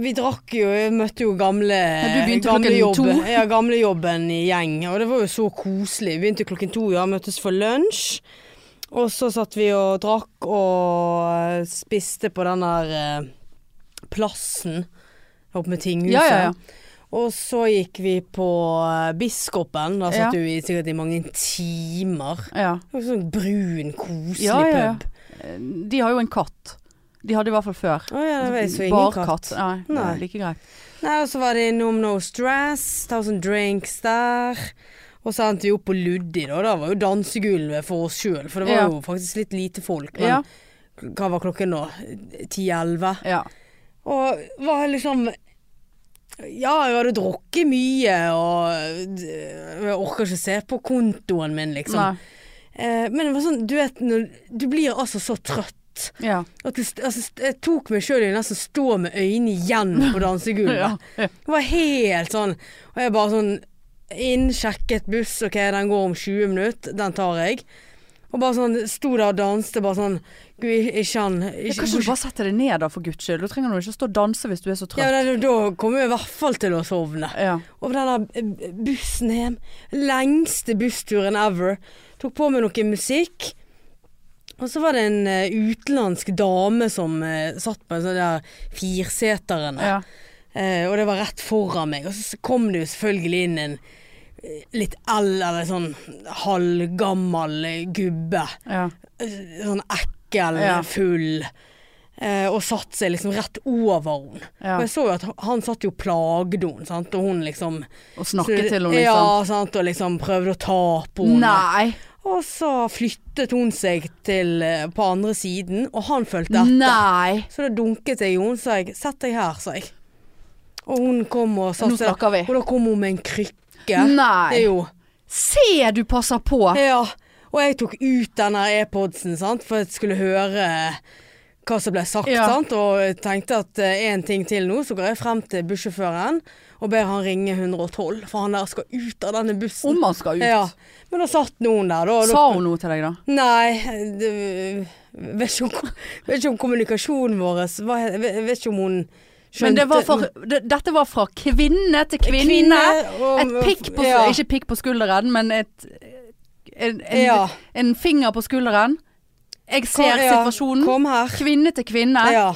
Speaker 2: vi drakk jo, jeg møtte jo gamle
Speaker 1: Ja, du begynte
Speaker 2: gamle
Speaker 1: klokken
Speaker 2: jobben-
Speaker 1: to.
Speaker 2: Ja, gamlejobben i gjeng, og det var jo så koselig. Vi begynte klokken to, ja, møttes for lunsj. Og så satt vi og drakk og eh, spiste på den der eh, plassen oppe med tinghuset.
Speaker 1: Ja, ja, ja.
Speaker 2: Og så gikk vi på eh, Biskopen, da
Speaker 1: Ja.
Speaker 2: satt du i sikkert i mange timer.
Speaker 1: Ja.
Speaker 2: Det var Sånn brun, koselig
Speaker 1: Ja, ja, ja.
Speaker 2: pub.
Speaker 1: De har jo en katt. De hadde i hvert fall før.
Speaker 2: Å ja, det var jeg så ingen katt.
Speaker 1: Barkatt. Nei, det
Speaker 2: Nei.
Speaker 1: er like greit.
Speaker 2: Nei, og så var det innom No Stress, Thousand Drinks der. Og så endte vi opp på Luddi, da. Da var jo dansegulvet for oss sjøl, for det var
Speaker 1: Ja.
Speaker 2: jo faktisk litt lite folk. Men
Speaker 1: Ja.
Speaker 2: hva var klokken nå? 10-11?
Speaker 1: ja.
Speaker 2: Og var liksom Ja, jeg hadde drukket mye, og jeg orker ikke se på kontoen min, liksom.
Speaker 1: Nei.
Speaker 2: Eh, men det var sånn, du vet når Du blir altså så trøtt.
Speaker 1: Ja.
Speaker 2: At du, st- altså, st- jeg tok meg sjøl i å nesten stå med øynene igjen på dansegulvet.
Speaker 1: Ja. ja.
Speaker 2: Det var helt sånn. Og jeg bare sånn Inn, sjekket buss, ok, den går om 20 minutter, den tar jeg. Og bare sånn, sto der og danste, bare sånn Gud, ikke ikke han ikke,
Speaker 1: Kanskje du bare setter deg ned da, for guds skyld. Da trenger du ikke stå og danse hvis du er så
Speaker 2: ja,
Speaker 1: trøtt.
Speaker 2: men da, da kommer jeg i hvert fall til å sovne.
Speaker 1: Ja.
Speaker 2: Og på den der eh, bussen hjem, lengste bussturen ever, tok på meg noe musikk. Og så var det en eh, utenlandsk dame som eh, satt på en sånn der firseteren.
Speaker 1: Ja.
Speaker 2: Eh, og det var rett foran meg. Og så kom det jo selvfølgelig inn en eh, litt eld, eller sånn halvgammel eh, gubbe.
Speaker 1: Ja.
Speaker 2: Eh, Sånn ekkel,
Speaker 1: Ja.
Speaker 2: full. Eh, og satte seg liksom rett over henne.
Speaker 1: Ja.
Speaker 2: Og jeg så jo at han satt jo og plagde henne, sant. Og hun liksom
Speaker 1: Og snakke
Speaker 2: så-
Speaker 1: til henne, liksom.
Speaker 2: Ja, sant. Og liksom prøvde å ta på henne.
Speaker 1: Nei.
Speaker 2: Og så flyttet hun seg til eh, på andre siden, og han fulgte etter.
Speaker 1: Nei.
Speaker 2: Så da dunket jeg i henne, sa jeg 'sett deg her', sa jeg. Og hun kom og
Speaker 1: Nå
Speaker 2: satte
Speaker 1: snakker vi.
Speaker 2: Og da kom hun med en krykke. Det er
Speaker 1: Nei.
Speaker 2: jo
Speaker 1: Se, du passer på!
Speaker 2: Ja. Og jeg tok ut denne e-podsen, sant, for jeg skulle høre hva som ble sagt,
Speaker 1: Ja.
Speaker 2: sant, og jeg tenkte at én ting til nå, så går jeg frem til bussjåføren og ber han ringe 112, for han der skal ut av denne bussen.
Speaker 1: Om han skal ut.
Speaker 2: Ja. Men da satt noen der, da. og da
Speaker 1: Sa hun noe til deg, da?
Speaker 2: Nei, det, vet, ikke om, vet ikke om kommunikasjonen vår hva, he- vet, vet ikke om hun skjønte
Speaker 1: Men det var for, det, dette var fra kvinne til kvinne.
Speaker 2: og-
Speaker 1: Et pikk på
Speaker 2: ja,
Speaker 1: Ikke pikk på skulderen, men et en, en,
Speaker 2: ja.
Speaker 1: en finger på skulderen. Jeg ser
Speaker 2: Kom- ja,
Speaker 1: situasjonen.
Speaker 2: Kom her.
Speaker 1: Kvinne til kvinne.
Speaker 2: Ja.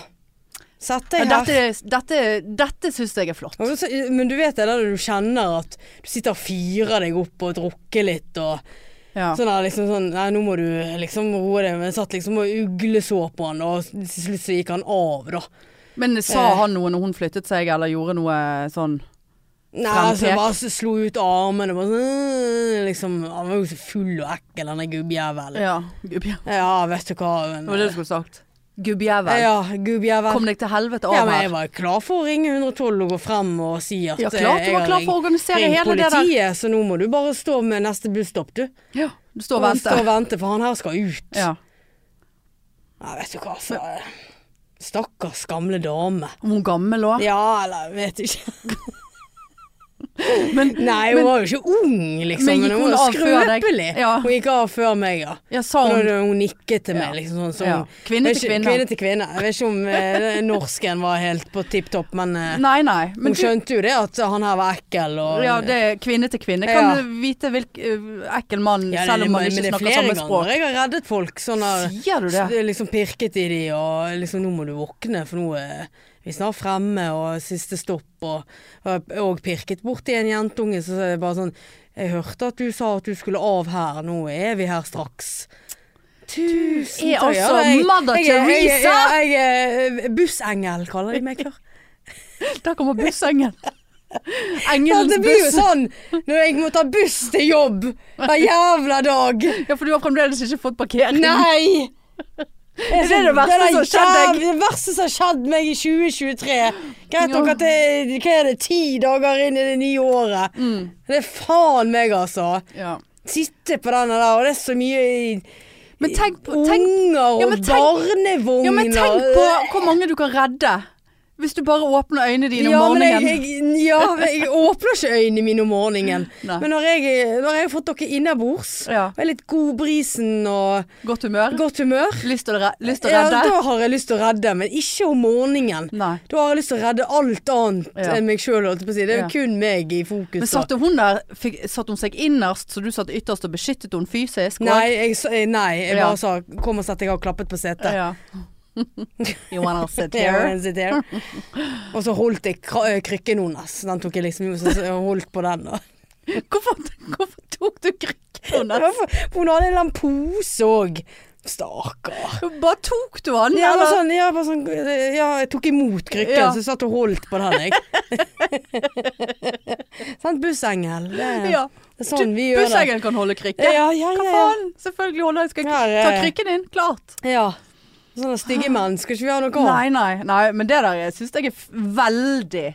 Speaker 2: Sett
Speaker 1: Ja,
Speaker 2: deg her.
Speaker 1: dette dette, dette syns jeg er flott.
Speaker 2: Og så- Men du vet det der du kjenner at du sitter og fyrer deg opp og drukker litt og
Speaker 1: Ja.
Speaker 2: sånn der liksom sånn Nei, nå må du liksom roe deg. Men jeg satt liksom og ugleså på han, og til slutt så gikk han av, da.
Speaker 1: Men sa
Speaker 2: Eh.
Speaker 1: han noe når hun flyttet seg, eller gjorde noe sånn
Speaker 2: Nei,
Speaker 1: Frempek.
Speaker 2: altså, jeg bare s- slo ut armene bare sånn, øh, liksom, Han var jo så full og ekkel, denne gubbjævelen. Ja.
Speaker 1: Ja, gubbjævel.
Speaker 2: vet du
Speaker 1: Det
Speaker 2: hva.
Speaker 1: var det
Speaker 2: Men, øh,
Speaker 1: du skulle sagt. Gubbjævel.
Speaker 2: ja, gubbjævel.
Speaker 1: Kom deg til helvete
Speaker 2: ja,
Speaker 1: av
Speaker 2: men
Speaker 1: her.
Speaker 2: jeg var klar for å ringe 112 og gå frem og si at øh,
Speaker 1: Ja, klart du var klar for å organisere
Speaker 2: ring
Speaker 1: hele det der.
Speaker 2: politiet, så nå må du bare stå med neste busstopp, du.
Speaker 1: Ja, du står og venter.
Speaker 2: og vente, for han her skal ut.
Speaker 1: Ja.
Speaker 2: Nei, vet du hva, altså. Stakkars gamle dame.
Speaker 1: Om hun gammel òg?
Speaker 2: Ja, eller vet ikke.
Speaker 1: Men,
Speaker 2: Nei, hun
Speaker 1: men
Speaker 2: var jo ikke ung, liksom.
Speaker 1: Men gikk
Speaker 2: hun
Speaker 1: hun
Speaker 2: var
Speaker 1: av før deg?
Speaker 2: skrøpelig.
Speaker 1: Ja.
Speaker 2: Hun gikk av før meg, ja.
Speaker 1: ja, sa
Speaker 2: Og
Speaker 1: hun
Speaker 2: da hun nikket til
Speaker 1: Ja.
Speaker 2: meg, liksom sånn som
Speaker 1: ja. Kvinne
Speaker 2: Jeg
Speaker 1: til
Speaker 2: vet ikke-
Speaker 1: kvinne.
Speaker 2: til kvinne. Jeg vet ikke om eh, norsken var helt på tipp topp, men, eh,
Speaker 1: Nei, nei. Men
Speaker 2: hun
Speaker 1: du,
Speaker 2: skjønte jo det at han her var ekkel. Og,
Speaker 1: ja, det er kvinne til kvinne. Kan
Speaker 2: Ja.
Speaker 1: du vite hvilken ekkel mann,
Speaker 2: Ja, det-
Speaker 1: selv om man
Speaker 2: men
Speaker 1: ikke
Speaker 2: det er
Speaker 1: snakker
Speaker 2: flere
Speaker 1: samme
Speaker 2: ganger
Speaker 1: språk.
Speaker 2: Jeg har reddet folk sånn der
Speaker 1: Sier du det?
Speaker 2: s- liksom pirket i de og liksom 'nå må du våkne, for nå er vi snart fremme', og 'siste stopp', og, og, og pirket borti en jentunge som så er det bare sånn 'Jeg hørte at du sa at du skulle av her, nå er vi her straks'. Tusen
Speaker 1: er
Speaker 2: takk.
Speaker 1: altså
Speaker 2: jeg-
Speaker 1: Mother
Speaker 2: jeg er- jeg er-
Speaker 1: Teresa!
Speaker 2: ja, Jeg, er eh, bussengel, kaller de meg før.
Speaker 1: Der kommer bussengen.
Speaker 2: Ja,
Speaker 1: Engelens
Speaker 2: det blir jo
Speaker 1: buss.
Speaker 2: sånn når jeg må ta buss til jobb hver jævla dag.
Speaker 1: Ja, for du har fremdeles ikke fått parkering.
Speaker 2: Nei!
Speaker 1: Er det det verste som
Speaker 2: er
Speaker 1: skjedde deg?
Speaker 2: jæv- Det verste som har skjedd meg i 2023. Greit nok
Speaker 1: Ja.
Speaker 2: at det hva er det, ti dager inn i det nye året.
Speaker 1: Mm.
Speaker 2: Det er faen meg, altså.
Speaker 1: Ja.
Speaker 2: Sitte på denne der, og det er så mye i
Speaker 1: Men tenk på tenk,
Speaker 2: unger
Speaker 1: Ja,
Speaker 2: og
Speaker 1: men tenk-
Speaker 2: barnevogner.
Speaker 1: ja, men tenk på hvor mange du kan redde Hvis du bare åpner øynene dine
Speaker 2: ja,
Speaker 1: om
Speaker 2: men jeg,
Speaker 1: morgenen.
Speaker 2: jeg, ja, jeg åpner ikke øynene mine om morgenen.
Speaker 1: Nei.
Speaker 2: Men når jeg, når jeg har fått dere innabords,
Speaker 1: ja.
Speaker 2: og er litt god i brisen og
Speaker 1: Godt humør.
Speaker 2: godt humør,
Speaker 1: Lyst til å, re lyst til å
Speaker 2: ja,
Speaker 1: redde.
Speaker 2: da har jeg lyst til å redde, men ikke om morgenen.
Speaker 1: Nei.
Speaker 2: Da har jeg lyst til å redde alt annet
Speaker 1: Ja.
Speaker 2: enn meg sjøl, holdt jeg på å si. Det er jo
Speaker 1: Ja.
Speaker 2: kun meg i fokus.
Speaker 1: Men
Speaker 2: da.
Speaker 1: satte hun der fikk, Satte hun seg innerst, så du satt ytterst og beskyttet hun fysisk? og-
Speaker 2: Nei, jeg, sa- eh, nei, jeg
Speaker 1: Ja.
Speaker 2: bare sa 'kom og sett deg', jeg har klappet på setet.
Speaker 1: Ja. you wanna sit
Speaker 2: Ja,
Speaker 1: here?
Speaker 2: and sit here. Og så holdt jeg kra- eh, krykken hennes. Den tok jeg liksom så- så jeg holdt på den. da.
Speaker 1: Hvorfor, hvorfor tok du krykken hennes?
Speaker 2: Hvorfor- Hun hadde en eller annen pose òg. Stakkar.
Speaker 1: Bare tok du han,
Speaker 2: Ja, bare
Speaker 1: eller?
Speaker 2: sånn, ja, bare sånn, eh, ja, jeg tok imot krykken,
Speaker 1: Ja.
Speaker 2: så jeg satt og holdt på den, jeg. Sant, bussengel. Det,
Speaker 1: Ja.
Speaker 2: det er sånn vi gjør det.
Speaker 1: Busseggen kan holde krykke.
Speaker 2: Ja, ja, ja.
Speaker 1: Hva
Speaker 2: ja.
Speaker 1: faen? Selvfølgelig holder jeg skal
Speaker 2: Ja, ja,
Speaker 1: ta
Speaker 2: ja.
Speaker 1: krykken din. Klart.
Speaker 2: ja. Sånne stygge menn skal ikke vi ha noe av.
Speaker 1: Ah. Nei, nei, nei. Men det der syns jeg er f- veldig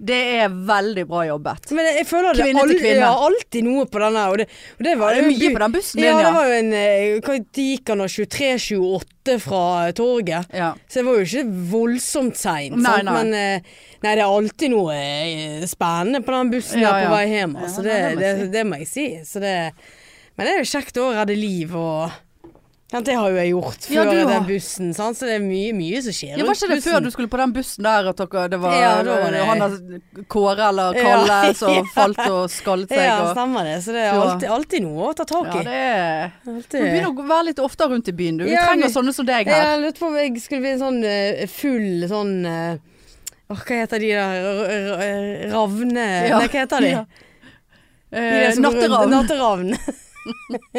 Speaker 1: Det er veldig bra jobbet.
Speaker 2: Men jeg, jeg føler det
Speaker 1: Kvinne til
Speaker 2: all-
Speaker 1: kvinne.
Speaker 2: Ja, alltid noe på denne. Og det, og det var
Speaker 1: Det er
Speaker 2: en
Speaker 1: mye
Speaker 2: by-
Speaker 1: på den bussen
Speaker 2: Ja,
Speaker 1: din,
Speaker 2: det
Speaker 1: ja.
Speaker 2: var jo en eh, hva tid gikk han da? 23-28 fra eh, torget.
Speaker 1: ja.
Speaker 2: Så det var jo ikke voldsomt seint.
Speaker 1: Nei,
Speaker 2: sant?
Speaker 1: nei.
Speaker 2: Men eh, nei, det er alltid noe eh, spennende på den bussen
Speaker 1: Ja,
Speaker 2: der
Speaker 1: ja.
Speaker 2: på vei hjem.
Speaker 1: Ja,
Speaker 2: Altså,
Speaker 1: nei,
Speaker 2: det,
Speaker 1: det må jeg si.
Speaker 2: det, det må jeg si. Så det, men det er jo kjekt å redde liv og ja, Det har jo jeg gjort
Speaker 1: Ja,
Speaker 2: før
Speaker 1: du har.
Speaker 2: den bussen, sant? så det er mye, mye som skjer
Speaker 1: Ja, var ikke det før du skulle på den bussen der at dere, det var,
Speaker 2: Ja, da var det-
Speaker 1: han der Kåre eller Kalle
Speaker 2: Ja.
Speaker 1: som falt og skallet seg?
Speaker 2: Ja,
Speaker 1: og,
Speaker 2: stemmer det. Så det er
Speaker 1: Så-
Speaker 2: alltid, alltid noe å ta tak
Speaker 1: ja
Speaker 2: i.
Speaker 1: det er Du
Speaker 2: Alltid-
Speaker 1: begynner å være litt oftere rundt i byen, du. Vi
Speaker 2: Ja,
Speaker 1: trenger
Speaker 2: vi-
Speaker 1: sånne som deg her.
Speaker 2: Jeg lurte på om jeg skulle bli en sånn eh, full sånn eh, åh, Hva heter de der r- r- r- Ravne...
Speaker 1: Ja.
Speaker 2: Nei, hva heter de?
Speaker 1: Ja.
Speaker 2: de der
Speaker 1: Eh,
Speaker 2: som går rundt-
Speaker 1: Natteravn.
Speaker 2: Natteravn.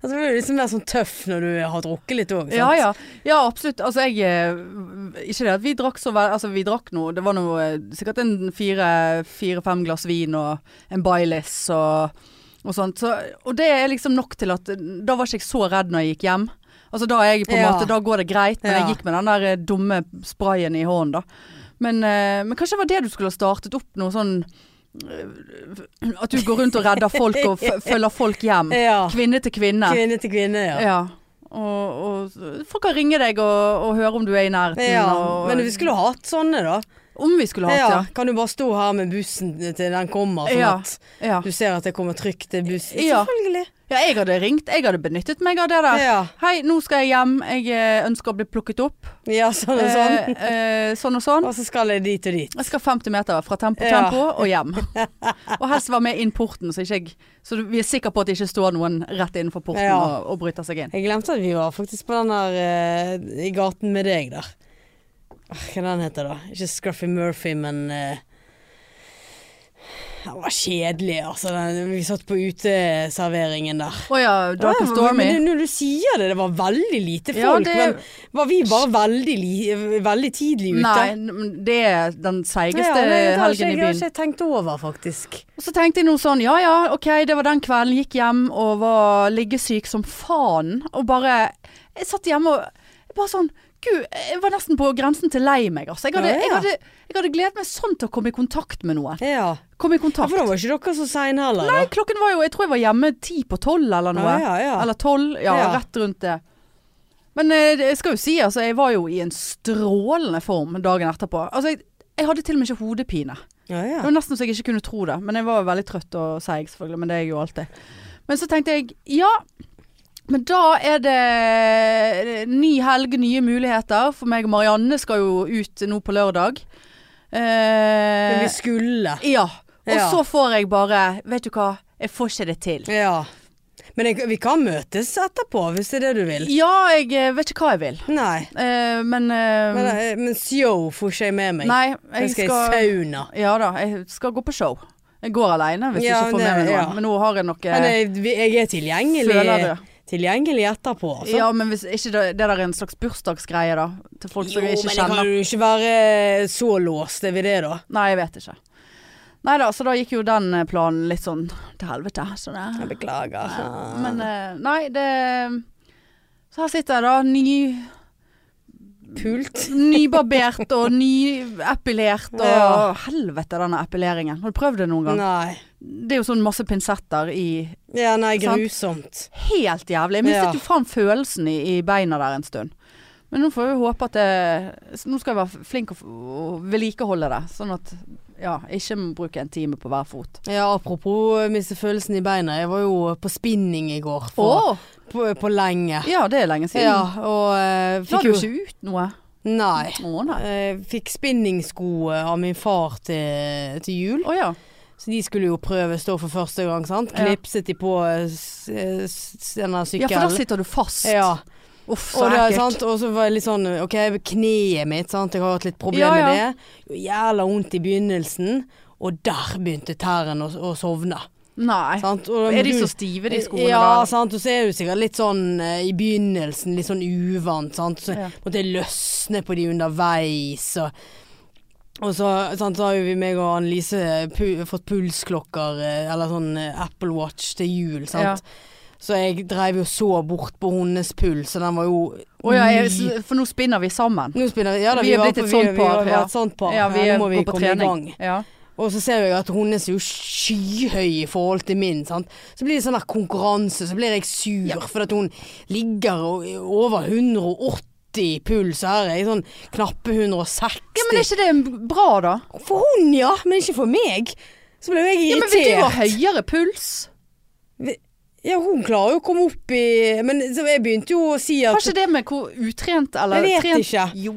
Speaker 2: altså, du er liksom mer sånn tøff når du har drukket litt òg.
Speaker 1: Ja, ja. ja, absolutt. Altså, jeg eh, Ikke det at vi drakk så vel Altså, vi drakk noe Det var noe eh, sikkert en fire- fire-fem glass vin og en Baileys og, og sånt. Så, og det er liksom nok til at eh, Da var ikke jeg så redd når jeg gikk hjem. Altså, da er jeg på en
Speaker 2: Ja.
Speaker 1: måte Da går det greit, men
Speaker 2: Ja.
Speaker 1: jeg gikk med den der eh, dumme sprayen i hånden, da. Men, eh, men kanskje det var det du skulle ha startet opp noe sånn eh, At du går rundt og redder folk og f følger folk hjem.
Speaker 2: ja.
Speaker 1: Kvinne til kvinne.
Speaker 2: Kvinne til kvinne, ja.
Speaker 1: Ja. Og, og folk kan ringe deg og, og høre om du er i nærheten.
Speaker 2: Ja,
Speaker 1: og,
Speaker 2: men vi skulle ha hatt sånne, da.
Speaker 1: Om vi skulle
Speaker 2: Ja.
Speaker 1: hatt,
Speaker 2: Kan du bare stå her med bussen til den kommer, sånn
Speaker 1: Ja.
Speaker 2: at
Speaker 1: ja. Ja.
Speaker 2: du ser at det kommer trygt til bussen?
Speaker 1: Ja.
Speaker 2: Selvfølgelig.
Speaker 1: ja, jeg hadde ringt. Jeg hadde benyttet meg av det der.
Speaker 2: Ja.
Speaker 1: Hei, nå skal jeg hjem. Jeg eh, ønsker å bli plukket opp.
Speaker 2: ja, sånn og sånn.
Speaker 1: Eh, eh, sånn og sånn.
Speaker 2: Og så skal jeg dit og dit.
Speaker 1: Jeg skal 50 meter fra tempo
Speaker 2: Ja.
Speaker 1: tempo og hjem. Og helst være med inn porten, så, ikke jeg, så vi er sikre på at det ikke står noen rett innenfor porten
Speaker 2: Ja.
Speaker 1: og, og bryter seg inn.
Speaker 2: Jeg glemte at vi var faktisk på den der eh, i gaten med deg der. Åh, Hva den heter da? Ikke Scruffy Murphy, men eh, Den var kjedelig, altså. Den, vi satt på uteserveringen der.
Speaker 1: Å ja, Dark and
Speaker 2: Ja,
Speaker 1: Stormy.
Speaker 2: Men når du sier det, det var veldig lite
Speaker 1: Ja,
Speaker 2: folk.
Speaker 1: det-
Speaker 2: Men var vi bare veldig, li, veldig tidlig ute?
Speaker 1: Nei, n- det er den
Speaker 2: Ja,
Speaker 1: seigeste
Speaker 2: det, det har ikke,
Speaker 1: helgen i
Speaker 2: jeg
Speaker 1: byen.
Speaker 2: har ikke tenkt over, faktisk.
Speaker 1: Og så tenkte jeg noe sånn, ja ja, ok, det var den kvelden, gikk hjem og var liggesyk som faen. Og bare Jeg satt hjemme og bare sånn Gud, jeg var nesten på grensen til lei meg, altså. Jeg hadde,
Speaker 2: Ja, ja.
Speaker 1: jeg hadde, jeg hadde gledet meg sånn til å komme i kontakt med noen.
Speaker 2: Ja.
Speaker 1: Komme i
Speaker 2: For da
Speaker 1: kontakt.
Speaker 2: var ikke dere så seine heller,
Speaker 1: Nei,
Speaker 2: da.
Speaker 1: klokken var jo Jeg tror jeg var hjemme ti på tolv eller noe.
Speaker 2: Ja, ja, ja.
Speaker 1: Eller tolv. Ja,
Speaker 2: Ja.
Speaker 1: rett rundt det. Men eh, det- jeg skal jo si, altså, jeg var jo i en strålende form dagen etterpå. Altså, jeg, jeg hadde til og med ikke hodepine.
Speaker 2: Ja,
Speaker 1: Det
Speaker 2: ja.
Speaker 1: var nesten så jeg ikke kunne tro det. Men jeg var jo veldig trøtt og seig, selvfølgelig. Men det er jeg jo alltid. Men så tenkte jeg ja, men da er det ny helg, nye muligheter. For meg og Marianne skal jo ut nå på lørdag.
Speaker 2: Men
Speaker 1: Eh,
Speaker 2: vi skulle.
Speaker 1: ja. Og
Speaker 2: Ja.
Speaker 1: så får jeg bare Vet du hva, jeg får ikke det til.
Speaker 2: Ja. Men jeg, vi kan møtes etterpå, hvis det er det du vil.
Speaker 1: Ja, jeg eh, vet ikke hva jeg vil.
Speaker 2: Nei.
Speaker 1: Eh, men, eh,
Speaker 2: Men, eh, men show får ikke jeg med meg.
Speaker 1: Nei,
Speaker 2: jeg
Speaker 1: jeg
Speaker 2: skal i
Speaker 1: skal
Speaker 2: sauna.
Speaker 1: Ja da, jeg skal gå på show. Jeg går aleine hvis jeg
Speaker 2: Ja,
Speaker 1: ikke får med
Speaker 2: det-
Speaker 1: meg noen.
Speaker 2: ja.
Speaker 1: Men nå har jeg noe
Speaker 2: Men jeg, vi- jeg er tilgjengelig,
Speaker 1: Føler det.
Speaker 2: tilgjengelig etterpå. Altså.
Speaker 1: Ja, men hvis ikke det, det der er en slags bursdagsgreie, da. Til folk
Speaker 2: jo,
Speaker 1: som jeg ikke
Speaker 2: men jeg kan
Speaker 1: kjenner.
Speaker 2: jo ikke være så låst er vi det, da.
Speaker 1: Nei, jeg vet ikke. Nei da, så da gikk jo den eh, planen litt sånn til helvete. Så det.
Speaker 2: Jeg beklager.
Speaker 1: Men eh, nei, det Så her sitter jeg da, ny,
Speaker 2: Pult.
Speaker 1: nybarbert og nyepilert og
Speaker 2: Ja.
Speaker 1: Helvete, denne epileringen. Har du prøvd det noen gang?
Speaker 2: Nei.
Speaker 1: Det er jo sånn masse pinsetter i
Speaker 2: Ja, nei,
Speaker 1: Sant.
Speaker 2: grusomt.
Speaker 1: Helt jævlig. Jeg mistet
Speaker 2: Ja.
Speaker 1: jo faen følelsen i, i beina der en stund. Men nå får vi håpe at det, Nå skal jeg være flink og f- og vedlikeholde det, sånn at ja, ikke må bruke en time på hver fot.
Speaker 2: Ja, apropos eh, miste følelsen i beina. Jeg var jo på spinning i går. For, på, på lenge.
Speaker 1: Ja, det er lenge siden.
Speaker 2: Ja, og eh,
Speaker 1: Da
Speaker 2: fikk
Speaker 1: du
Speaker 2: jo
Speaker 1: ikke ut noe.
Speaker 2: Nei.
Speaker 1: Å nei.
Speaker 2: Eh, fikk spinningsko eh, av min far til, til jul.
Speaker 1: Å ja.
Speaker 2: Så de skulle jo prøve stå for første gang, sant.
Speaker 1: Ja.
Speaker 2: Klipset de på eh, s- eh, s- denne
Speaker 1: ja, for da
Speaker 2: sykkelen.
Speaker 1: sitter du fast.
Speaker 2: Ja,
Speaker 1: Uff, så
Speaker 2: og, det, er
Speaker 1: ekkelt.
Speaker 2: sant? og så var jeg litt sånn OK, kneet mitt, sant. Jeg har hatt litt
Speaker 1: Ja,
Speaker 2: problemer
Speaker 1: ja.
Speaker 2: med det. Jævla vondt i begynnelsen. Og der begynte tærne å, å sovne.
Speaker 1: Nei.
Speaker 2: Sant? Og da må
Speaker 1: Er de
Speaker 2: du-
Speaker 1: så stive, de skoene
Speaker 2: Eh, Ja,
Speaker 1: der?
Speaker 2: sant. Og så er du sikkert litt sånn eh, i begynnelsen, litt sånn uvant, sant. Så
Speaker 1: Ja.
Speaker 2: måtte jeg løsne på de underveis og og så, sant, så har jo vi meg og Annelise pu fått pulsklokker, eh, eller sånn eh, Apple Watch til jul, sant. Så jeg dreiv jo så bort på hennes puls, og den var jo
Speaker 1: Å ja, jeg,
Speaker 2: ny.
Speaker 1: s- for nå spinner vi sammen.
Speaker 2: Nå spinner ja, da,
Speaker 1: Vi
Speaker 2: vi,
Speaker 1: er
Speaker 2: var
Speaker 1: blitt
Speaker 2: på-
Speaker 1: et
Speaker 2: vi,
Speaker 1: sånt
Speaker 2: vi
Speaker 1: par,
Speaker 2: var
Speaker 1: ja.
Speaker 2: et sånt par.
Speaker 1: Ja, vi
Speaker 2: Her, nå må vi
Speaker 1: går på
Speaker 2: komme i gang.
Speaker 1: trening. Ja.
Speaker 2: Og så ser jeg at hennes er jo skyhøy i forhold til min. Sant? Så blir det sånn der konkurranse, så blir jeg sur for at hun ligger og, over 180 puls. og Her er jeg sånn knappe 160.
Speaker 1: ja, men er ikke det bra, da?
Speaker 2: For hun, ja, men ikke for meg. Så ble jo jeg
Speaker 1: Ja, men Vil du ha
Speaker 2: irritert.
Speaker 1: høyere puls?
Speaker 2: Ja, hun klarer jo å komme opp i Men så jeg begynte jo å si
Speaker 1: Har
Speaker 2: at
Speaker 1: ikke det med hvor utrent eller
Speaker 2: Jeg vet
Speaker 1: trent
Speaker 2: ikke.
Speaker 1: Jo.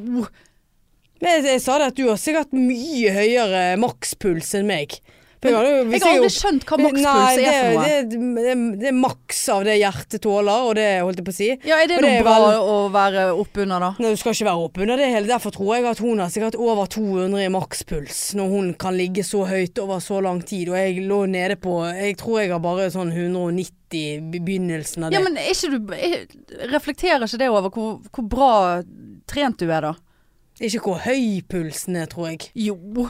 Speaker 2: men jeg, jeg sa det at du har sikkert mye høyere makspuls enn meg. For jeg hadde jo-
Speaker 1: Jeg
Speaker 2: hvis
Speaker 1: har
Speaker 2: jo-
Speaker 1: aldri skjønt hva makspuls
Speaker 2: Nei,
Speaker 1: er for noe.
Speaker 2: Det, det, det, det er maks av det hjertet tåler, og det holdt jeg på å si.
Speaker 1: Ja, er det
Speaker 2: Og
Speaker 1: noe
Speaker 2: det er
Speaker 1: bra å være oppunder, da?
Speaker 2: Nei, Du skal ikke være oppunder det hele. Derfor tror jeg at hun har sikkert over 200 i makspuls når hun kan ligge så høyt over så lang tid. Og jeg lå nede på Jeg tror jeg har bare sånn 190 i begynnelsen av det.
Speaker 1: Ja, men er ikke du, er, reflekterer ikke det over hvor, hvor bra trent du er, da?
Speaker 2: Ikke hvor høy pulsen er, tror jeg.
Speaker 1: Jo.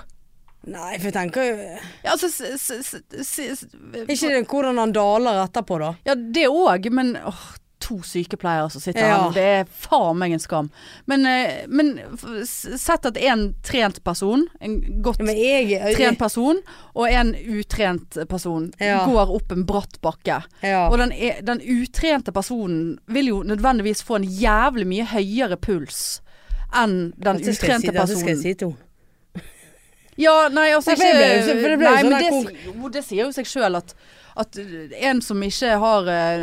Speaker 2: Nei, for jeg tenker jo-
Speaker 1: Ja, altså s, s, s, s,
Speaker 2: Er ikke det hvordan han daler etterpå, da?
Speaker 1: Ja, det òg, men åh, to sykepleiere som sitter
Speaker 2: Ja.
Speaker 1: her, det er faen meg en skam. Men, eh, men f- s- sett at en trent person, en godt
Speaker 2: Ja, men jeg, eh,
Speaker 1: trent person, og en utrent person
Speaker 2: Ja.
Speaker 1: går opp en bratt bakke.
Speaker 2: ja.
Speaker 1: Og den, e- den utrente personen vil jo nødvendigvis få en jævlig mye høyere puls enn den
Speaker 2: Dette skal jeg si-
Speaker 1: utrente
Speaker 2: dette skal jeg
Speaker 1: personen.
Speaker 2: si til henne.
Speaker 1: Ja, nei, altså
Speaker 2: Nei, for det
Speaker 1: ikke
Speaker 2: ble jo så- for det ble jo
Speaker 1: nei,
Speaker 2: sånn
Speaker 1: men
Speaker 2: der
Speaker 1: det,
Speaker 2: konk-
Speaker 1: si- jo, det sier jo seg sjøl at, at en som ikke har eh,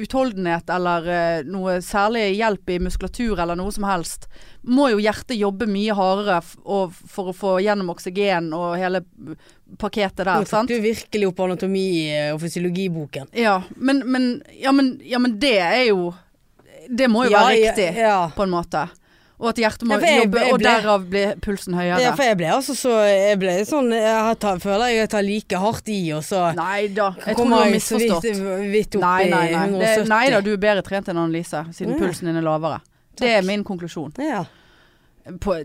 Speaker 1: utholdenhet eller eh, noe særlig hjelp i muskulatur eller noe som helst, må jo hjertet jobbe mye hardere f og for å få gjennom oksygen og hele pakketet
Speaker 2: Nå
Speaker 1: der,
Speaker 2: tok
Speaker 1: sant?
Speaker 2: du virkelig opp anatomi- eh, og fysiologiboken.
Speaker 1: Ja men, men, ja, men, ja, men det er jo Det må jo være riktig,
Speaker 2: Ja, ja.
Speaker 1: på en måte. Og at hjertet må
Speaker 2: Ja, for jeg-
Speaker 1: jobbe,
Speaker 2: jeg
Speaker 1: og
Speaker 2: ble-
Speaker 1: derav blir pulsen høyere.
Speaker 2: Ja, for jeg ble altså så Jeg ble sånn Jeg tar, føler jeg tar like hardt i, og så
Speaker 1: Nei da, jeg tror du
Speaker 2: kommer
Speaker 1: har
Speaker 2: jeg så vidt,
Speaker 1: misforstått.
Speaker 2: vidt opp
Speaker 1: Nei,
Speaker 2: i
Speaker 1: nei, nei. Det,
Speaker 2: 170.
Speaker 1: nei da, du er bedre trent enn Annelise, siden
Speaker 2: Å, ja.
Speaker 1: pulsen din er lavere. Det er min konklusjon.
Speaker 2: ja.
Speaker 1: På,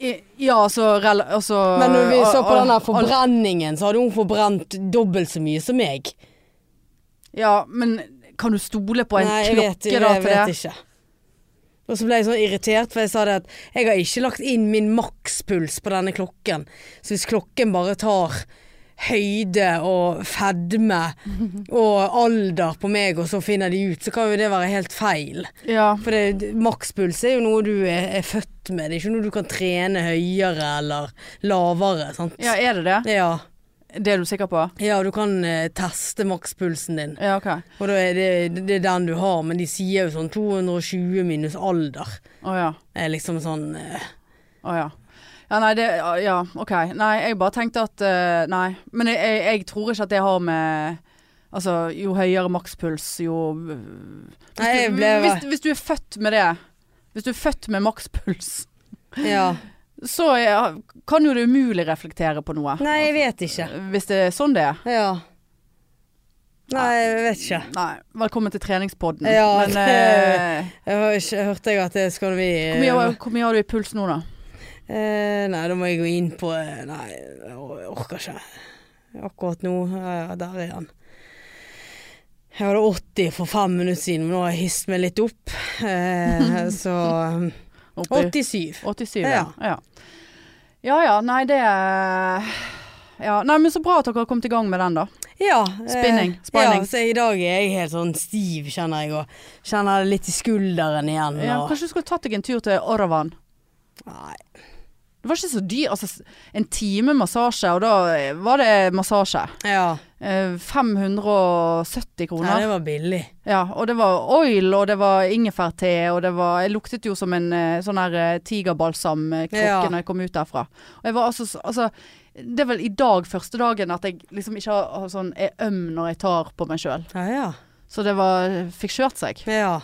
Speaker 1: i- ja, altså, rel, altså
Speaker 2: Men når vi så på
Speaker 1: al-
Speaker 2: den der
Speaker 1: al-
Speaker 2: forbrenningen, så hadde hun forbrent dobbelt så mye som meg.
Speaker 1: Ja, men kan du stole på en
Speaker 2: Nei, jeg vet,
Speaker 1: klokke
Speaker 2: jeg,
Speaker 1: da
Speaker 2: jeg
Speaker 1: til
Speaker 2: vet
Speaker 1: det?
Speaker 2: ikke. Og så ble jeg sånn irritert, for jeg sa det at jeg har ikke lagt inn min makspuls på denne klokken. Så hvis klokken bare tar høyde og fedme og alder på meg, og så finner de ut, så kan jo det være helt feil.
Speaker 1: Ja.
Speaker 2: For det, makspuls er jo noe du er, er født med, det er ikke noe du kan trene høyere eller lavere, sant?
Speaker 1: ja, er det det?
Speaker 2: Ja,
Speaker 1: Det er du sikker på?
Speaker 2: ja du kan eh, teste makspulsen din,
Speaker 1: Ja, OK. Å
Speaker 2: og da er det, det er den du har, men de sier jo sånn 220 minus alder,
Speaker 1: ja.
Speaker 2: er liksom sånn eh,
Speaker 1: Å ja. Ja, nei, det Ja, OK. Nei, jeg bare tenkte at eh, Nei. Men jeg, jeg, jeg tror ikke at det har med Altså, jo høyere makspuls, jo
Speaker 2: Nei, jeg ble
Speaker 1: hvis, hvis du er født med det Hvis du er født med makspuls,
Speaker 2: ja.
Speaker 1: så er, kan jo det umulig reflektere på noe.
Speaker 2: Nei, jeg vet ikke.
Speaker 1: Hvis det er sånn det er.
Speaker 2: Ja. Nei, jeg vet ikke.
Speaker 1: Nei, velkommen til treningspodden.
Speaker 2: Ja,
Speaker 1: Men eh,
Speaker 2: Jeg har ikke hørte jeg at det skal vi
Speaker 1: hvor, mye, hvor mye har du i puls nå, da?
Speaker 2: Eh, nei, da må jeg gå inn på eh, Nei, jeg or- jeg orker ikke. Akkurat nå. Ja, ja, der er han. Jeg hadde 80 for fem minutter siden, men nå har jeg hisset meg litt opp. Eh, så eh,
Speaker 1: Oppi
Speaker 2: 87.
Speaker 1: 87?
Speaker 2: Ja.
Speaker 1: Ja. ja. Ja ja, nei det ja. Nei, men så bra at dere har kommet i gang med den, da.
Speaker 2: Ja.
Speaker 1: Spinning,
Speaker 2: eh,
Speaker 1: spinning.
Speaker 2: Ja, så i dag er jeg helt sånn stiv, kjenner jeg. Og kjenner det litt i skulderen igjen. Og,
Speaker 1: Ja, kanskje du skulle tatt deg en tur til Oravan.
Speaker 2: Nei.
Speaker 1: Det var ikke så dyr. Altså, s- en time massasje, og da eh, var det massasje.
Speaker 2: Ja.
Speaker 1: Eh, 570
Speaker 2: Nei,
Speaker 1: kroner.
Speaker 2: det var billig.
Speaker 1: Ja, og det var oil, og det var ingefærte, og det var Jeg luktet jo som en eh, sånn her eh, tigerbalsamkrukke
Speaker 2: Ja.
Speaker 1: når jeg kom ut derfra. Og jeg var altså, s- altså Det er vel i dag, første dagen, at jeg liksom ikke har, har sånn er øm når jeg tar på meg sjøl.
Speaker 2: Ja, ja.
Speaker 1: Så det var eh, Fikk kjørt seg.
Speaker 2: ja.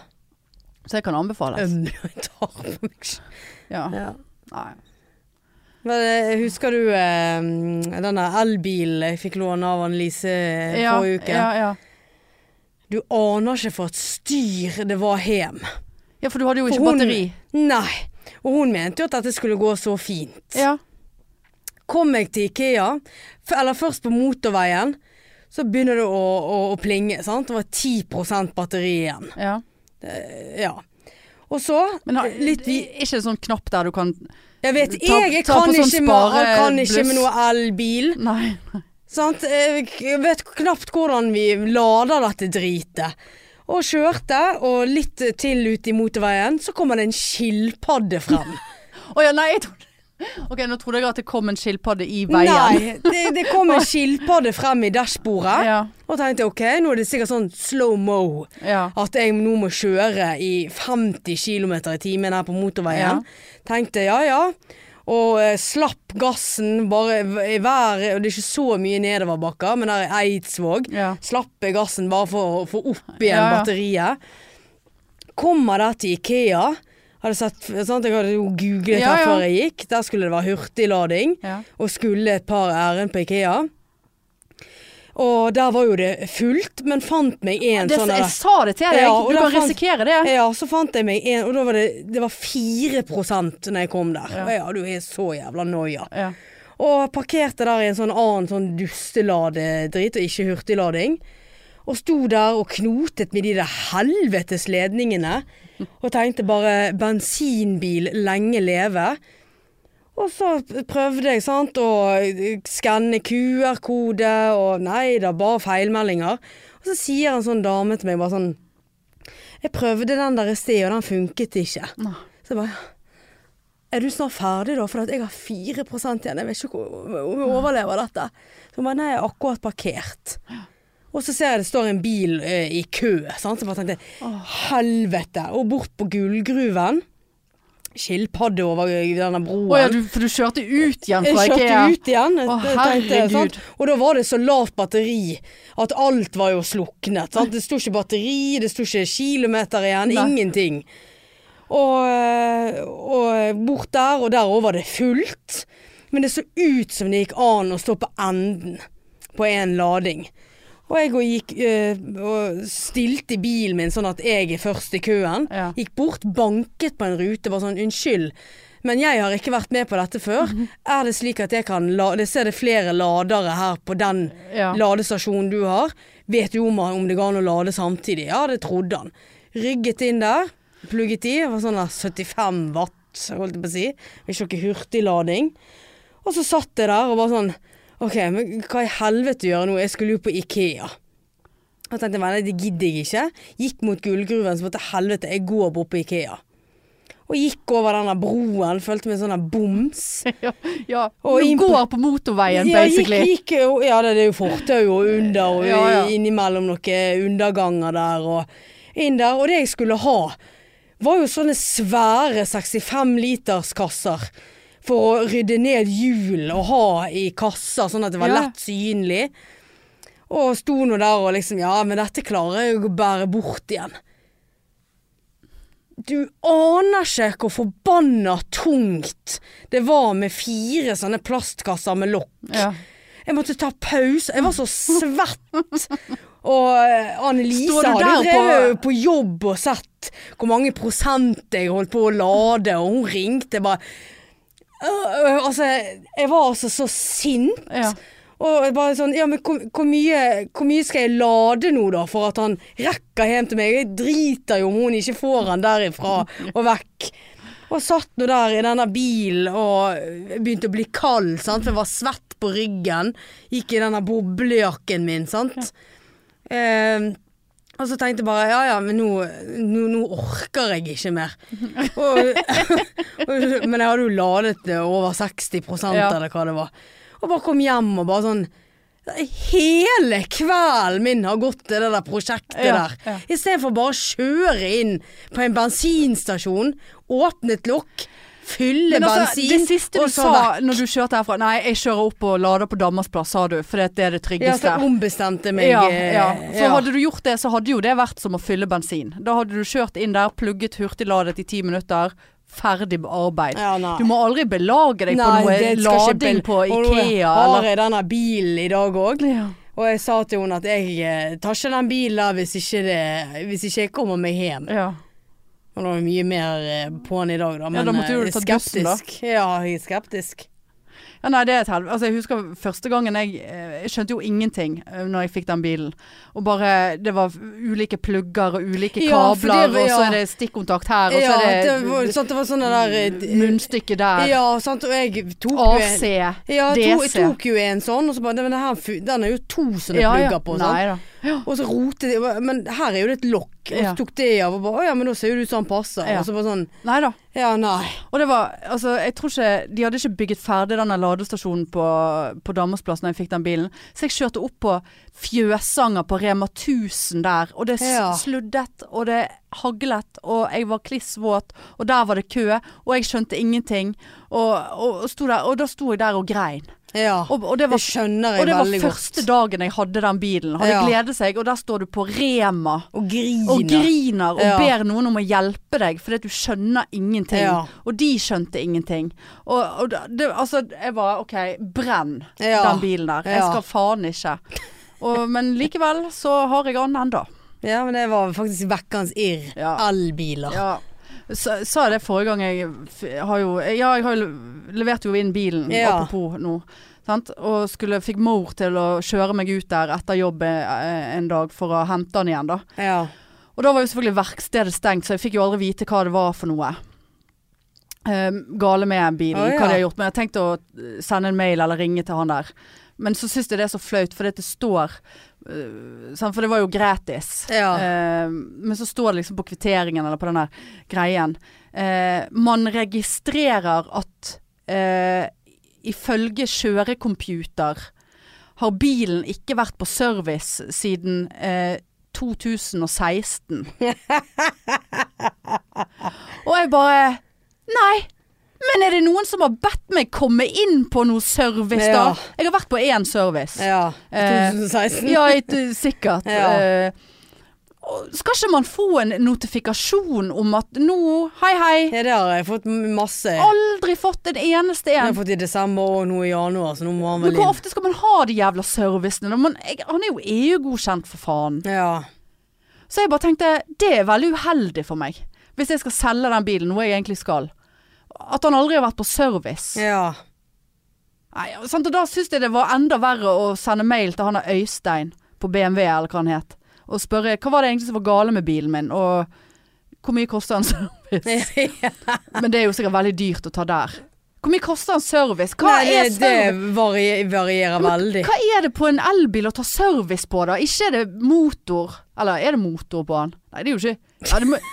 Speaker 1: Så jeg kan anbefales.
Speaker 2: Øm, jeg tar på meg selv.
Speaker 1: Ja.
Speaker 2: Ja.
Speaker 1: Nei.
Speaker 2: Men eh, husker du eh, den der elbilen jeg fikk låne av Annelise eh,
Speaker 1: Ja,
Speaker 2: forrige uke?
Speaker 1: ja, ja.
Speaker 2: Du aner ikke for et styr det var hjem.
Speaker 1: ja, for du hadde jo ikke
Speaker 2: For hun-
Speaker 1: batteri.
Speaker 2: Nei. Og hun mente jo at dette skulle gå så fint.
Speaker 1: Ja.
Speaker 2: Kom jeg til Ikea, f eller først på motorveien, så begynner det å, å, å plinge. sant? Det var 10 batteri igjen.
Speaker 1: ja.
Speaker 2: Ja. Og så
Speaker 1: Men har,
Speaker 2: litt vi,
Speaker 1: ikke en sånn knapp der du kan
Speaker 2: Jeg vet,
Speaker 1: ta-
Speaker 2: jeg, jeg
Speaker 1: ta på
Speaker 2: kan,
Speaker 1: sånn
Speaker 2: ikke med, jeg kan ikke
Speaker 1: sparebluss.
Speaker 2: med noe elbil.
Speaker 1: Nei.
Speaker 2: Sant? Jeg jeg vet knapt hvordan vi lader dette dritet. Og kjørte, og litt til ut i motorveien, så kommer det en skilpadde frem.
Speaker 1: Å ja, nei, jeg trodde Ok, nå trodde jeg at det kom en skilpadde i veien.
Speaker 2: Nei, det, det kom en skilpadde frem i dashbordet.
Speaker 1: Ja,
Speaker 2: Og tenkte ok, nå er det sikkert sånn slow mo.
Speaker 1: ja.
Speaker 2: At jeg nå må kjøre i 50 km i timen her på motorveien.
Speaker 1: Ja.
Speaker 2: Tenkte ja ja. Og eh, slapp gassen bare v- i været. Og det er ikke så mye nedoverbakker, men der i Eidsvåg
Speaker 1: Ja.
Speaker 2: slapp jeg gassen bare for å få opp igjen
Speaker 1: Ja, ja.
Speaker 2: batteriet. Kommer der til Ikea. Hadde sett, sant? Jeg hadde jo googlet
Speaker 1: Ja,
Speaker 2: her
Speaker 1: ja.
Speaker 2: før jeg gikk. Der skulle det være hurtiglading
Speaker 1: Ja.
Speaker 2: og skulle et par ærend på Ikea. Og der var jo det fullt, men fant meg en
Speaker 1: Det,
Speaker 2: sånn
Speaker 1: jeg
Speaker 2: der-
Speaker 1: sa det til deg,
Speaker 2: Ja, og
Speaker 1: du
Speaker 2: da
Speaker 1: kan
Speaker 2: fant-
Speaker 1: risikere det.
Speaker 2: Ja, så fant jeg meg en, og da var det, det var 4 når jeg kom der.
Speaker 1: Ja.
Speaker 2: Og ja, du er så jævla noia.
Speaker 1: Ja.
Speaker 2: Og parkerte der i en sånn annen sånn dusteladedrit, og ikke hurtiglading. Og sto der og knotet med de der helvetes ledningene. Og tenkte bare 'bensinbil, lenge leve'. Og så prøvde jeg sant, å skanne QR-kode, og nei da, bare feilmeldinger. Og så sier en sånn dame til meg bare sånn 'Jeg prøvde den der i sted, og den funket ikke'.
Speaker 1: Nei.
Speaker 2: Så jeg bare er du snart ferdig da, for at jeg har 4 igjen, jeg vet ikke hvor- om jeg overlever dette. Så hun bare, nei, jeg har akkurat parkert. Og så ser jeg det står en bil eh, i kø, sant? så jeg bare tenkte, helvete, og bort på gullgruven, skilpadde over eh, denne broen.
Speaker 1: Å ja, du, for du kjørte ut igjen fra
Speaker 2: Jeg
Speaker 1: Ikea.
Speaker 2: kjørte ut igjen. Jeg
Speaker 1: Å,
Speaker 2: tenkte,
Speaker 1: herregud.
Speaker 2: sant? Og da var det så lavt batteri at alt var jo sluknet. Sant? Det sto ikke batteri, det sto ikke kilometer igjen,
Speaker 1: Nei.
Speaker 2: ingenting. Og, eh, og bort der, og der òg var det fullt. Men det så ut som det gikk an å stå på enden på én lading. Og jeg og gikk eh, og stilte bilen min sånn at jeg er først i køen.
Speaker 1: Ja.
Speaker 2: Gikk bort, banket på en rute, var sånn 'unnskyld'. Men jeg har ikke vært med på dette før. Er det slik at jeg kan la det ser det flere ladere her på den
Speaker 1: Ja.
Speaker 2: ladestasjonen du har? Vet du om, om det går an å lade samtidig? Ja, det trodde han. Rygget inn der, plugget i. Det var sånn der 75 watt, holdt jeg på å si. Ikke noe hurtiglading. Og så satt jeg der og var sånn OK, men hva i helvete gjør jeg nå? Jeg skulle jo på Ikea. Og tenkte jeg, nei, det gidder jeg ikke. Gikk mot gullgruven, så måtte helvete, jeg går bort på Ikea. Og gikk over denne broen, følte meg sånn der boms.
Speaker 1: Ja, ja.
Speaker 2: Og
Speaker 1: Du
Speaker 2: inn på-
Speaker 1: går på motorveien,
Speaker 2: Ja, gikk,
Speaker 1: basically.
Speaker 2: gikk, jo- ja, det det er jo fortau og under og
Speaker 1: Ja, ja.
Speaker 2: innimellom noen underganger der og inn der. Og det jeg skulle ha, var jo sånne svære 65-literskasser for å rydde ned hjul og ha i kasser, sånn at det var
Speaker 1: Ja.
Speaker 2: lett synlig. Og sto nå der og liksom Ja, men dette klarer jeg jo å bære bort igjen. Du aner ikke hvor forbanna tungt det var med fire sånne plastkasser med lokk.
Speaker 1: Ja.
Speaker 2: Jeg måtte ta pause. Jeg var så svett. Og eh,
Speaker 1: Står
Speaker 2: Annelise
Speaker 1: du
Speaker 2: hadde
Speaker 1: der
Speaker 2: drevet
Speaker 1: på-
Speaker 2: på jobb og sett hvor mange prosent jeg holdt på å lade, og hun ringte bare Øh, øh, Altså, jeg var altså så sint.
Speaker 1: Ja.
Speaker 2: Og jeg bare sånn Ja, men hvor, hvor, mye, hvor mye skal jeg lade nå, da, for at han rekker hjem til meg? Jeg driter jo om hun ikke får han derifra og vekk. Og satt nå der i denne bilen og begynte å bli kald, sant? for jeg var svett på ryggen. Gikk i denne boblejakken min, sant. Eh, og så tenkte jeg bare ja ja, men nå, nå, nå orker jeg ikke mer. Og, men jeg hadde jo ladet det over 60
Speaker 1: Ja.
Speaker 2: eller hva det var. Og bare kom hjem og bare sånn Hele kvelden min har gått til det der prosjektet
Speaker 1: Ja,
Speaker 2: der.
Speaker 1: ja.
Speaker 2: Istedenfor bare å kjøre inn på en bensinstasjon, åpne et lokk, fylle
Speaker 1: Men altså,
Speaker 2: bensin
Speaker 1: det siste du
Speaker 2: og så
Speaker 1: sa
Speaker 2: vekk.
Speaker 1: når du kjørte herfra Nei, jeg kjører opp og lader på Danmarksplass, sa du. For det er det
Speaker 2: Ja, så
Speaker 1: tryggeste.
Speaker 2: ombestemte meg.
Speaker 1: Ja,
Speaker 2: eh,
Speaker 1: ja. For
Speaker 2: ja.
Speaker 1: hadde du gjort det, så hadde jo det vært som å fylle bensin. Da hadde du kjørt inn der, plugget hurtigladet i ti minutter, ferdig med arbeid.
Speaker 2: Ja, nei.
Speaker 1: Du må aldri belage deg på
Speaker 2: Nei,
Speaker 1: noe
Speaker 2: det skal ikke
Speaker 1: lading
Speaker 2: bel-
Speaker 1: på
Speaker 2: Og nå
Speaker 1: Ikea
Speaker 2: Har
Speaker 1: eller
Speaker 2: jeg denne bilen i dag òg?
Speaker 1: ja.
Speaker 2: Og jeg sa til henne at jeg eh, tar ikke den bilen der hvis ikke, det, hvis ikke jeg kommer meg hjem.
Speaker 1: Ja.
Speaker 2: Og nå er det mye mer eh, på den i dag, da. Men
Speaker 1: da måtte du
Speaker 2: eh,
Speaker 1: jo ta bussen, da.
Speaker 2: skeptisk. Ja, jeg er skeptisk.
Speaker 1: ja, nei, det er et helvete. Altså, jeg husker første gangen jeg eh, Jeg skjønte jo ingenting eh, når jeg fikk den bilen. Og bare Det var ulike plugger og ulike
Speaker 2: Ja, for
Speaker 1: kabler,
Speaker 2: det var-
Speaker 1: og så
Speaker 2: ja.
Speaker 1: er det stikkontakt her, og
Speaker 2: Ja,
Speaker 1: så er
Speaker 2: det
Speaker 1: det, Mm.
Speaker 2: var, sant, det var sånn det der eh,
Speaker 1: munnstykke der.
Speaker 2: Ja, sant, og jeg tok jo
Speaker 1: AC,
Speaker 2: en ja, jeg tok, jeg
Speaker 1: DC.
Speaker 2: tok jo en sånn, og så bare "Nei, men den, her, fu- den er jo to sånne
Speaker 1: Ja, ja.
Speaker 2: plugger på. Sant?
Speaker 1: Nei da.
Speaker 2: Og så rotet jeg bare, Men her er jo det et lokk. Og så
Speaker 1: Ja.
Speaker 2: tok det av, og bare Å ja, men da ser jo det ut som han passer.
Speaker 1: Ja.
Speaker 2: Og så bare sånn
Speaker 1: Nei da.
Speaker 2: Ja, nei.
Speaker 1: Og det var, altså, jeg tror ikke, De hadde ikke bygget ferdig den der ladestasjonen på, på Damersplass når jeg fikk den bilen. Så jeg kjørte opp på Fjøsanger på Rema 1000 der, og det s-
Speaker 2: Ja.
Speaker 1: sluddet og det haglet, og jeg var kliss våt, og der var det kø, og jeg skjønte ingenting. Og, og, og, sto der, og da sto jeg der og grein.
Speaker 2: Ja.
Speaker 1: Og, og det
Speaker 2: det
Speaker 1: var
Speaker 2: skjønner
Speaker 1: og
Speaker 2: jeg
Speaker 1: det var
Speaker 2: veldig
Speaker 1: første
Speaker 2: godt.
Speaker 1: dagen jeg hadde den bilen. Hadde
Speaker 2: Ja.
Speaker 1: gledet seg, og der står du på Rema
Speaker 2: Og griner.
Speaker 1: og griner og
Speaker 2: Ja.
Speaker 1: ber noen om å hjelpe deg, fordi at du skjønner ingenting.
Speaker 2: Ja.
Speaker 1: Og de skjønte ingenting. Og, og da- det, altså, jeg var OK, brenn
Speaker 2: Ja.
Speaker 1: den bilen der. Jeg
Speaker 2: Ja.
Speaker 1: skal faen ikke. Og, men likevel så har jeg den ennå.
Speaker 2: Ja, men det var faktisk vekkens irr.
Speaker 1: Ja.
Speaker 2: Elbiler.
Speaker 1: Ja. Sa sa jeg det forrige gang jeg f- har jo Ja, jeg har jo le- leverte jo inn bilen,
Speaker 2: Ja.
Speaker 1: apropos nå. Sant? Og skulle, fikk mor til å kjøre meg ut der etter jobb eh, en dag for å hente den igjen, da.
Speaker 2: Ja.
Speaker 1: Og da var jo selvfølgelig verkstedet stengt, så jeg fikk jo aldri vite hva det var for noe. Ehm, gale med bilen,
Speaker 2: Å, ja.
Speaker 1: hva de har gjort. Men jeg tenkte å eh, sende en mail eller ringe til han der. Men så syns jeg det er så flaut, fordi at det står eh, sant, For det var jo gratis.
Speaker 2: Ja.
Speaker 1: Ehm, men så står det liksom på kvitteringen eller på den der greien eh, Man registrerer at eh, ifølge kjørecomputer har bilen ikke vært på service siden eh, 2016. Og jeg bare Nei! Men er det noen som har bedt meg komme inn på noe service,
Speaker 2: Ja.
Speaker 1: da? Jeg har vært på én service.
Speaker 2: ja.
Speaker 1: Eh,
Speaker 2: 2016.
Speaker 1: Ja, jeg t- sikkert.
Speaker 2: Ja.
Speaker 1: Eh, og skal ikke man få en notifikasjon om at nå Hei, hei.
Speaker 2: Ja, det har jeg fått m- masse. Det
Speaker 1: Aldri fått en eneste
Speaker 2: har
Speaker 1: en.
Speaker 2: jeg fått i desember og nå i januar, så nå må han
Speaker 1: Men
Speaker 2: vel
Speaker 1: hvor
Speaker 2: inn.
Speaker 1: ofte skal man ha de jævla servicene? da? Man, jeg, han er jo EU-godkjent, for faen.
Speaker 2: Ja.
Speaker 1: Så jeg bare tenkte, det er veldig uheldig for meg. Hvis jeg skal selge den bilen, noe jeg egentlig skal. At han aldri har vært på service.
Speaker 2: ja.
Speaker 1: Nei, sant? Og da synes jeg det var enda verre å sende mail til han der Øystein på BMW, eller hva han het. Og spørre, hva var det egentlig som var gale med bilen min? Og hvor mye koster en service? Men det er jo sikkert veldig dyrt å ta der. Hvor mye koster en service? Hva
Speaker 2: Nei,
Speaker 1: er
Speaker 2: det
Speaker 1: service?
Speaker 2: varier, varierer veldig.
Speaker 1: Hva er det på en elbil å ta service på da? Ikke er det motor Eller er det motor på den? Nei, det er jo ikke Ja, det må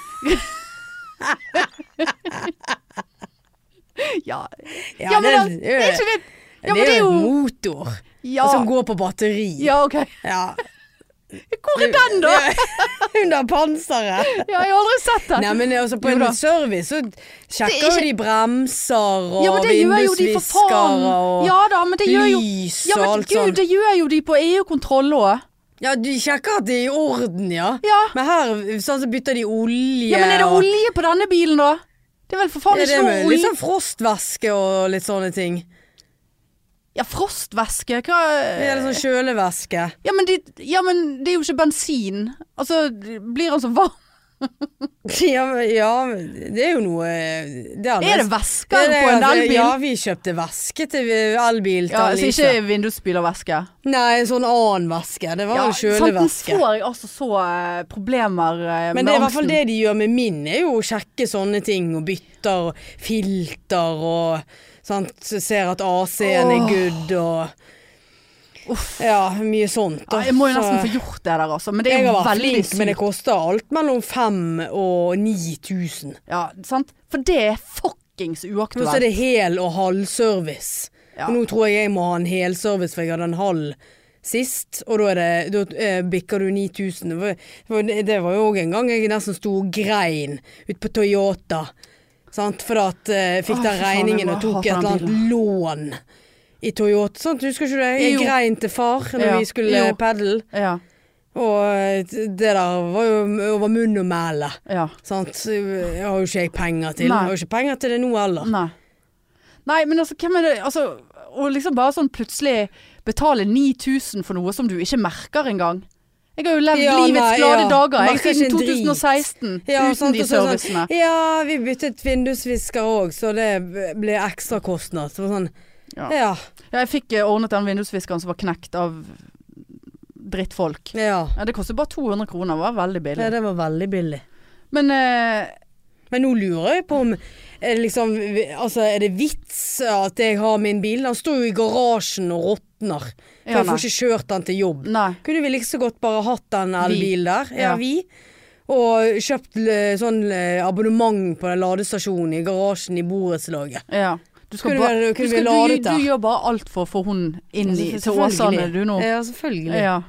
Speaker 1: Ja, ja, men
Speaker 2: det-
Speaker 1: altså, det er ikke det Ja, men
Speaker 2: det er jo Altså, en
Speaker 1: jo
Speaker 2: motor
Speaker 1: Ja,
Speaker 2: som går på batteri.
Speaker 1: ja OK.
Speaker 2: Ja.
Speaker 1: Hvor er den, da?
Speaker 2: Under panseret.
Speaker 1: Ja, jeg har aldri sett den.
Speaker 2: Nei, men altså på
Speaker 1: Jo da.
Speaker 2: en service så sjekker
Speaker 1: ikke-
Speaker 2: jo de bremser og
Speaker 1: Ja, men det gjør jo de, for faen.
Speaker 2: vindusviskere og
Speaker 1: Ja da, men det gjør jo
Speaker 2: lys
Speaker 1: ja,
Speaker 2: og
Speaker 1: men
Speaker 2: alt
Speaker 1: gud,
Speaker 2: sånt.
Speaker 1: det gjør jo de på EU-kontroll òg.
Speaker 2: Ja, de sjekker at det er i orden, ja.
Speaker 1: Ja.
Speaker 2: Men her sånn, så bytter de olje.
Speaker 1: ja, men er det
Speaker 2: og-
Speaker 1: olje på denne bilen, da? Det er vel for faen
Speaker 2: Ja, det
Speaker 1: ikke
Speaker 2: er
Speaker 1: noe
Speaker 2: med
Speaker 1: olje
Speaker 2: litt sånn frostvæske og litt sånne ting.
Speaker 1: Ja, frostvæske, hva
Speaker 2: Det er litt sånn kjølevæske.
Speaker 1: Ja men, de, ja, men det er jo ikke bensin. Altså, blir han så varm?
Speaker 2: Ja, men- ja, men det er jo noe eh, Det er,
Speaker 1: Er det
Speaker 2: Ja,
Speaker 1: væsker
Speaker 2: det-
Speaker 1: på en
Speaker 2: altså,
Speaker 1: elbil?
Speaker 2: Ja,
Speaker 1: Ja,
Speaker 2: vi kjøpte væske til elbil til
Speaker 1: så
Speaker 2: Alice.
Speaker 1: altså, ikke vindusspylervæske.
Speaker 2: Nei, en sånn annen væske. Det var
Speaker 1: Ja,
Speaker 2: en
Speaker 1: sant,
Speaker 2: kjølevæske.
Speaker 1: nå får jeg altså så eh, problemer eh,
Speaker 2: Men
Speaker 1: med
Speaker 2: det er i hvert fall
Speaker 1: angsten.
Speaker 2: det de gjør med min, er jo å sjekke sånne ting og bytter og filter og sant, så ser at AC-en er
Speaker 1: Åh.
Speaker 2: good og
Speaker 1: Uff.
Speaker 2: ja, mye sånt. da.
Speaker 1: Ja, jeg må jo
Speaker 2: Så
Speaker 1: nesten få gjort det der, altså. Men det er
Speaker 2: jeg
Speaker 1: jo
Speaker 2: har vært
Speaker 1: veldig
Speaker 2: flink, men det
Speaker 1: sykt.
Speaker 2: koster alt mellom 5000 og 9000.
Speaker 1: Ja, sant? For det er fuckings
Speaker 2: Og så er
Speaker 1: uaktuelt.
Speaker 2: det hel- og halvservice.
Speaker 1: Ja.
Speaker 2: Og Nå tror jeg jeg må ha en helservice, for jeg hadde en halv sist, og da, er det, da eh, bikker du 9000. Det var- det var- Det var jo òg en gang jeg nesten sto og grein ute på Toyota. Sant? For at eh, fikk
Speaker 1: Åh,
Speaker 2: den
Speaker 1: fy faen, jeg
Speaker 2: regningen og
Speaker 1: bare
Speaker 2: tok et
Speaker 1: hater
Speaker 2: eller
Speaker 1: den
Speaker 2: annet lån i Toyota. Sant? Husker ikke du det? Jeg
Speaker 1: Jo.
Speaker 2: grein til far når
Speaker 1: Ja.
Speaker 2: vi skulle
Speaker 1: Jo.
Speaker 2: pedle,
Speaker 1: Ja,
Speaker 2: og eh, det der var jo over munn og mæle.
Speaker 1: ja.
Speaker 2: Sant? Jeg har jo ikke jeg penger til.
Speaker 1: Nei.
Speaker 2: Jeg har jo ikke penger til det nå heller.
Speaker 1: Nei. Nei, men altså, hvem er det Altså, å liksom bare sånn plutselig betale 9000 for noe som du ikke merker engang. Jeg har jo levd
Speaker 2: Ja,
Speaker 1: livets
Speaker 2: nei,
Speaker 1: glade
Speaker 2: ja.
Speaker 1: dager jeg,
Speaker 2: Merker ikke
Speaker 1: siden
Speaker 2: en drit.
Speaker 1: 2016
Speaker 2: Ja,
Speaker 1: uten
Speaker 2: sant,
Speaker 1: de
Speaker 2: og så sånn,
Speaker 1: servicene.
Speaker 2: Ja, vi byttet vindusvisker òg, så det ble ekstra kostnad. Så det var sånn,
Speaker 1: Ja.
Speaker 2: ja.
Speaker 1: Ja, jeg fikk eh, ordnet den vindusviskeren som var knekt av drittfolk.
Speaker 2: ja.
Speaker 1: Ja, det kostet bare 200 kroner, det var veldig
Speaker 2: Det,
Speaker 1: billig.
Speaker 2: det var veldig billig.
Speaker 1: Men eh,
Speaker 2: Men nå lurer jeg på om er det liksom, altså, er det vits at jeg har min bil? Den står jo i garasjen og råtner. For
Speaker 1: Ja,
Speaker 2: jeg får ikke kjørt den til jobb.
Speaker 1: nei.
Speaker 2: Kunne vi like så godt bare hatt den
Speaker 1: Vi.
Speaker 2: elbilen der? Ja,
Speaker 1: Ja.
Speaker 2: vi. Og kjøpt eh, sånn eh, abonnement på den ladestasjonen i garasjen i borettslaget.
Speaker 1: Ja. Du
Speaker 2: Kunne
Speaker 1: bare-
Speaker 2: vi- kunne
Speaker 1: du,
Speaker 2: vi ladet
Speaker 1: du,
Speaker 2: der?
Speaker 1: du gjør bare alt for å få hun inn i,
Speaker 2: Ja,
Speaker 1: til Åsane,
Speaker 2: selvfølgelig.
Speaker 1: du nå.
Speaker 2: Ja, selvfølgelig.
Speaker 1: Altså, Ja.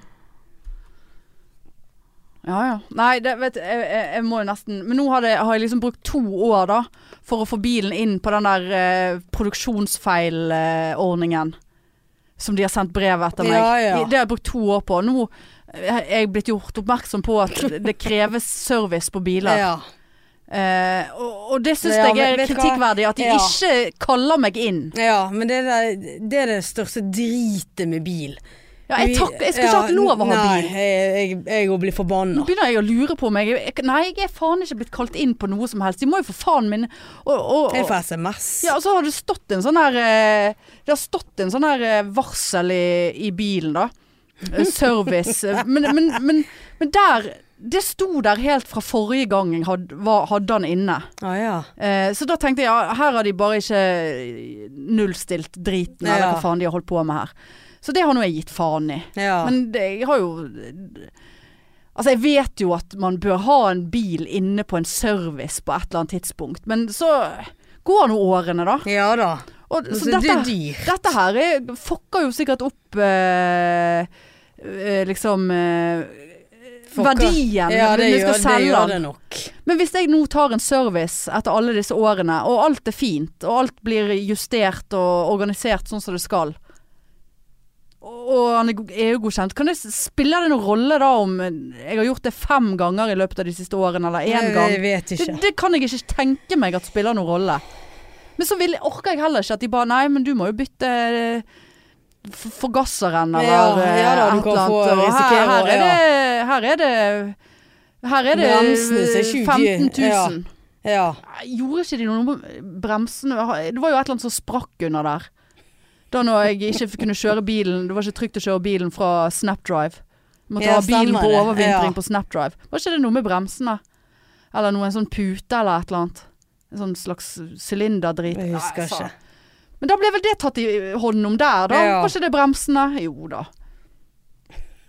Speaker 1: Ja ja. Nei, det, vet du, jeg, jeg, jeg må jo nesten Men nå har, det, har jeg liksom brukt to år, da, for å få bilen inn på den der eh, produksjonsfeilordningen. som de har sendt brev etter meg.
Speaker 2: Ja, ja.
Speaker 1: Det har jeg brukt to år på. Nå er jeg blitt gjort oppmerksom på at det kreves service på biler.
Speaker 2: Ja.
Speaker 1: Eh, og, og det syns
Speaker 2: Ja,
Speaker 1: jeg
Speaker 2: men
Speaker 1: er
Speaker 2: vet du hva?
Speaker 1: kritikkverdig, at de
Speaker 2: Ja.
Speaker 1: ikke kaller meg inn.
Speaker 2: Ja, men det er det, det er det største dritet med bil.
Speaker 1: Ja, jeg,
Speaker 2: Vi-
Speaker 1: tak, jeg skulle ikke hatt lov å ha
Speaker 2: nei,
Speaker 1: bil.
Speaker 2: jeg- jeg- jeg òg blir
Speaker 1: Nå
Speaker 2: forbanna.
Speaker 1: begynner jeg å lure på meg. Jeg, jeg- nei, jeg er faen ikke blitt kalt inn på noe som helst. De må jo for faen min og, og,
Speaker 2: Jeg
Speaker 1: og,
Speaker 2: får SMS.
Speaker 1: ja, og så har det stått en sånn her eh, Det har stått en sånn her eh, varsel i, i bilen, da. Eh, Service. Eh, Men, men, men, men der Det sto der helt fra forrige gang jeg hadde, var, hadde han inne.
Speaker 2: Ah, ja.
Speaker 1: Eh, så da tenkte jeg ja, her har de bare ikke nullstilt driten, eller
Speaker 2: Ja.
Speaker 1: hva faen de har holdt på med her. Så det har nå jeg gitt faen i.
Speaker 2: ja.
Speaker 1: Men det, jeg har jo Altså jeg vet jo at man bør ha en bil inne på en service på et eller annet tidspunkt, men så går nå årene, da.
Speaker 2: ja da.
Speaker 1: Og,
Speaker 2: Så
Speaker 1: så
Speaker 2: det er
Speaker 1: dette,
Speaker 2: dyrt.
Speaker 1: dette her er, fucker jo sikkert opp eh, eh, liksom eh,
Speaker 2: Fucker.
Speaker 1: verdien
Speaker 2: Ja,
Speaker 1: når vi
Speaker 2: det gjør,
Speaker 1: skal
Speaker 2: det,
Speaker 1: selge
Speaker 2: gjør
Speaker 1: den.
Speaker 2: det nok.
Speaker 1: Men hvis jeg nå tar en service etter alle disse årene, og alt er fint, og alt blir justert og organisert sånn som det skal, og og han er go- EU-godkjent, kan det s- spiller det noen rolle da om jeg har gjort det fem ganger i løpet av de siste årene, eller én
Speaker 2: Jeg- Jeg
Speaker 1: gang?
Speaker 2: vet
Speaker 1: Det,
Speaker 2: ikke.
Speaker 1: det kan jeg ikke tenke meg at spiller noen rolle. Men så vil, orker jeg heller ikke at de bare Nei, men du må jo bytte eh, f- forgasseren eller
Speaker 2: Ja,
Speaker 1: eh,
Speaker 2: ja da, du
Speaker 1: et
Speaker 2: kan
Speaker 1: eller
Speaker 2: få
Speaker 1: annet. Og her,
Speaker 2: risikere
Speaker 1: her,
Speaker 2: å-
Speaker 1: er det, her er det Her er det
Speaker 2: Bremsene ser
Speaker 1: eh,
Speaker 2: sjuke-
Speaker 1: 15 000.
Speaker 2: ja. Ja.
Speaker 1: Nei, Gjorde ikke de noe med bremsene? Det var jo et eller annet som sprakk under der. Da når jeg ikke kunne kjøre bilen Det var ikke trygt å kjøre bilen fra Snapdrive. Måtte
Speaker 2: Ja,
Speaker 1: ha bilen
Speaker 2: stemmer
Speaker 1: på
Speaker 2: det.
Speaker 1: overvintring
Speaker 2: Ja.
Speaker 1: på Snapdrive. Var ikke det noe med bremsene? Eller noe, en sånn pute eller et eller annet. En sånn slags sylinderdrit.
Speaker 2: Jeg husker
Speaker 1: Nei, faen.
Speaker 2: ikke.
Speaker 1: Men da ble vel det tatt i hånden om der, da?
Speaker 2: Ja.
Speaker 1: Var ikke det bremsene? Jo da.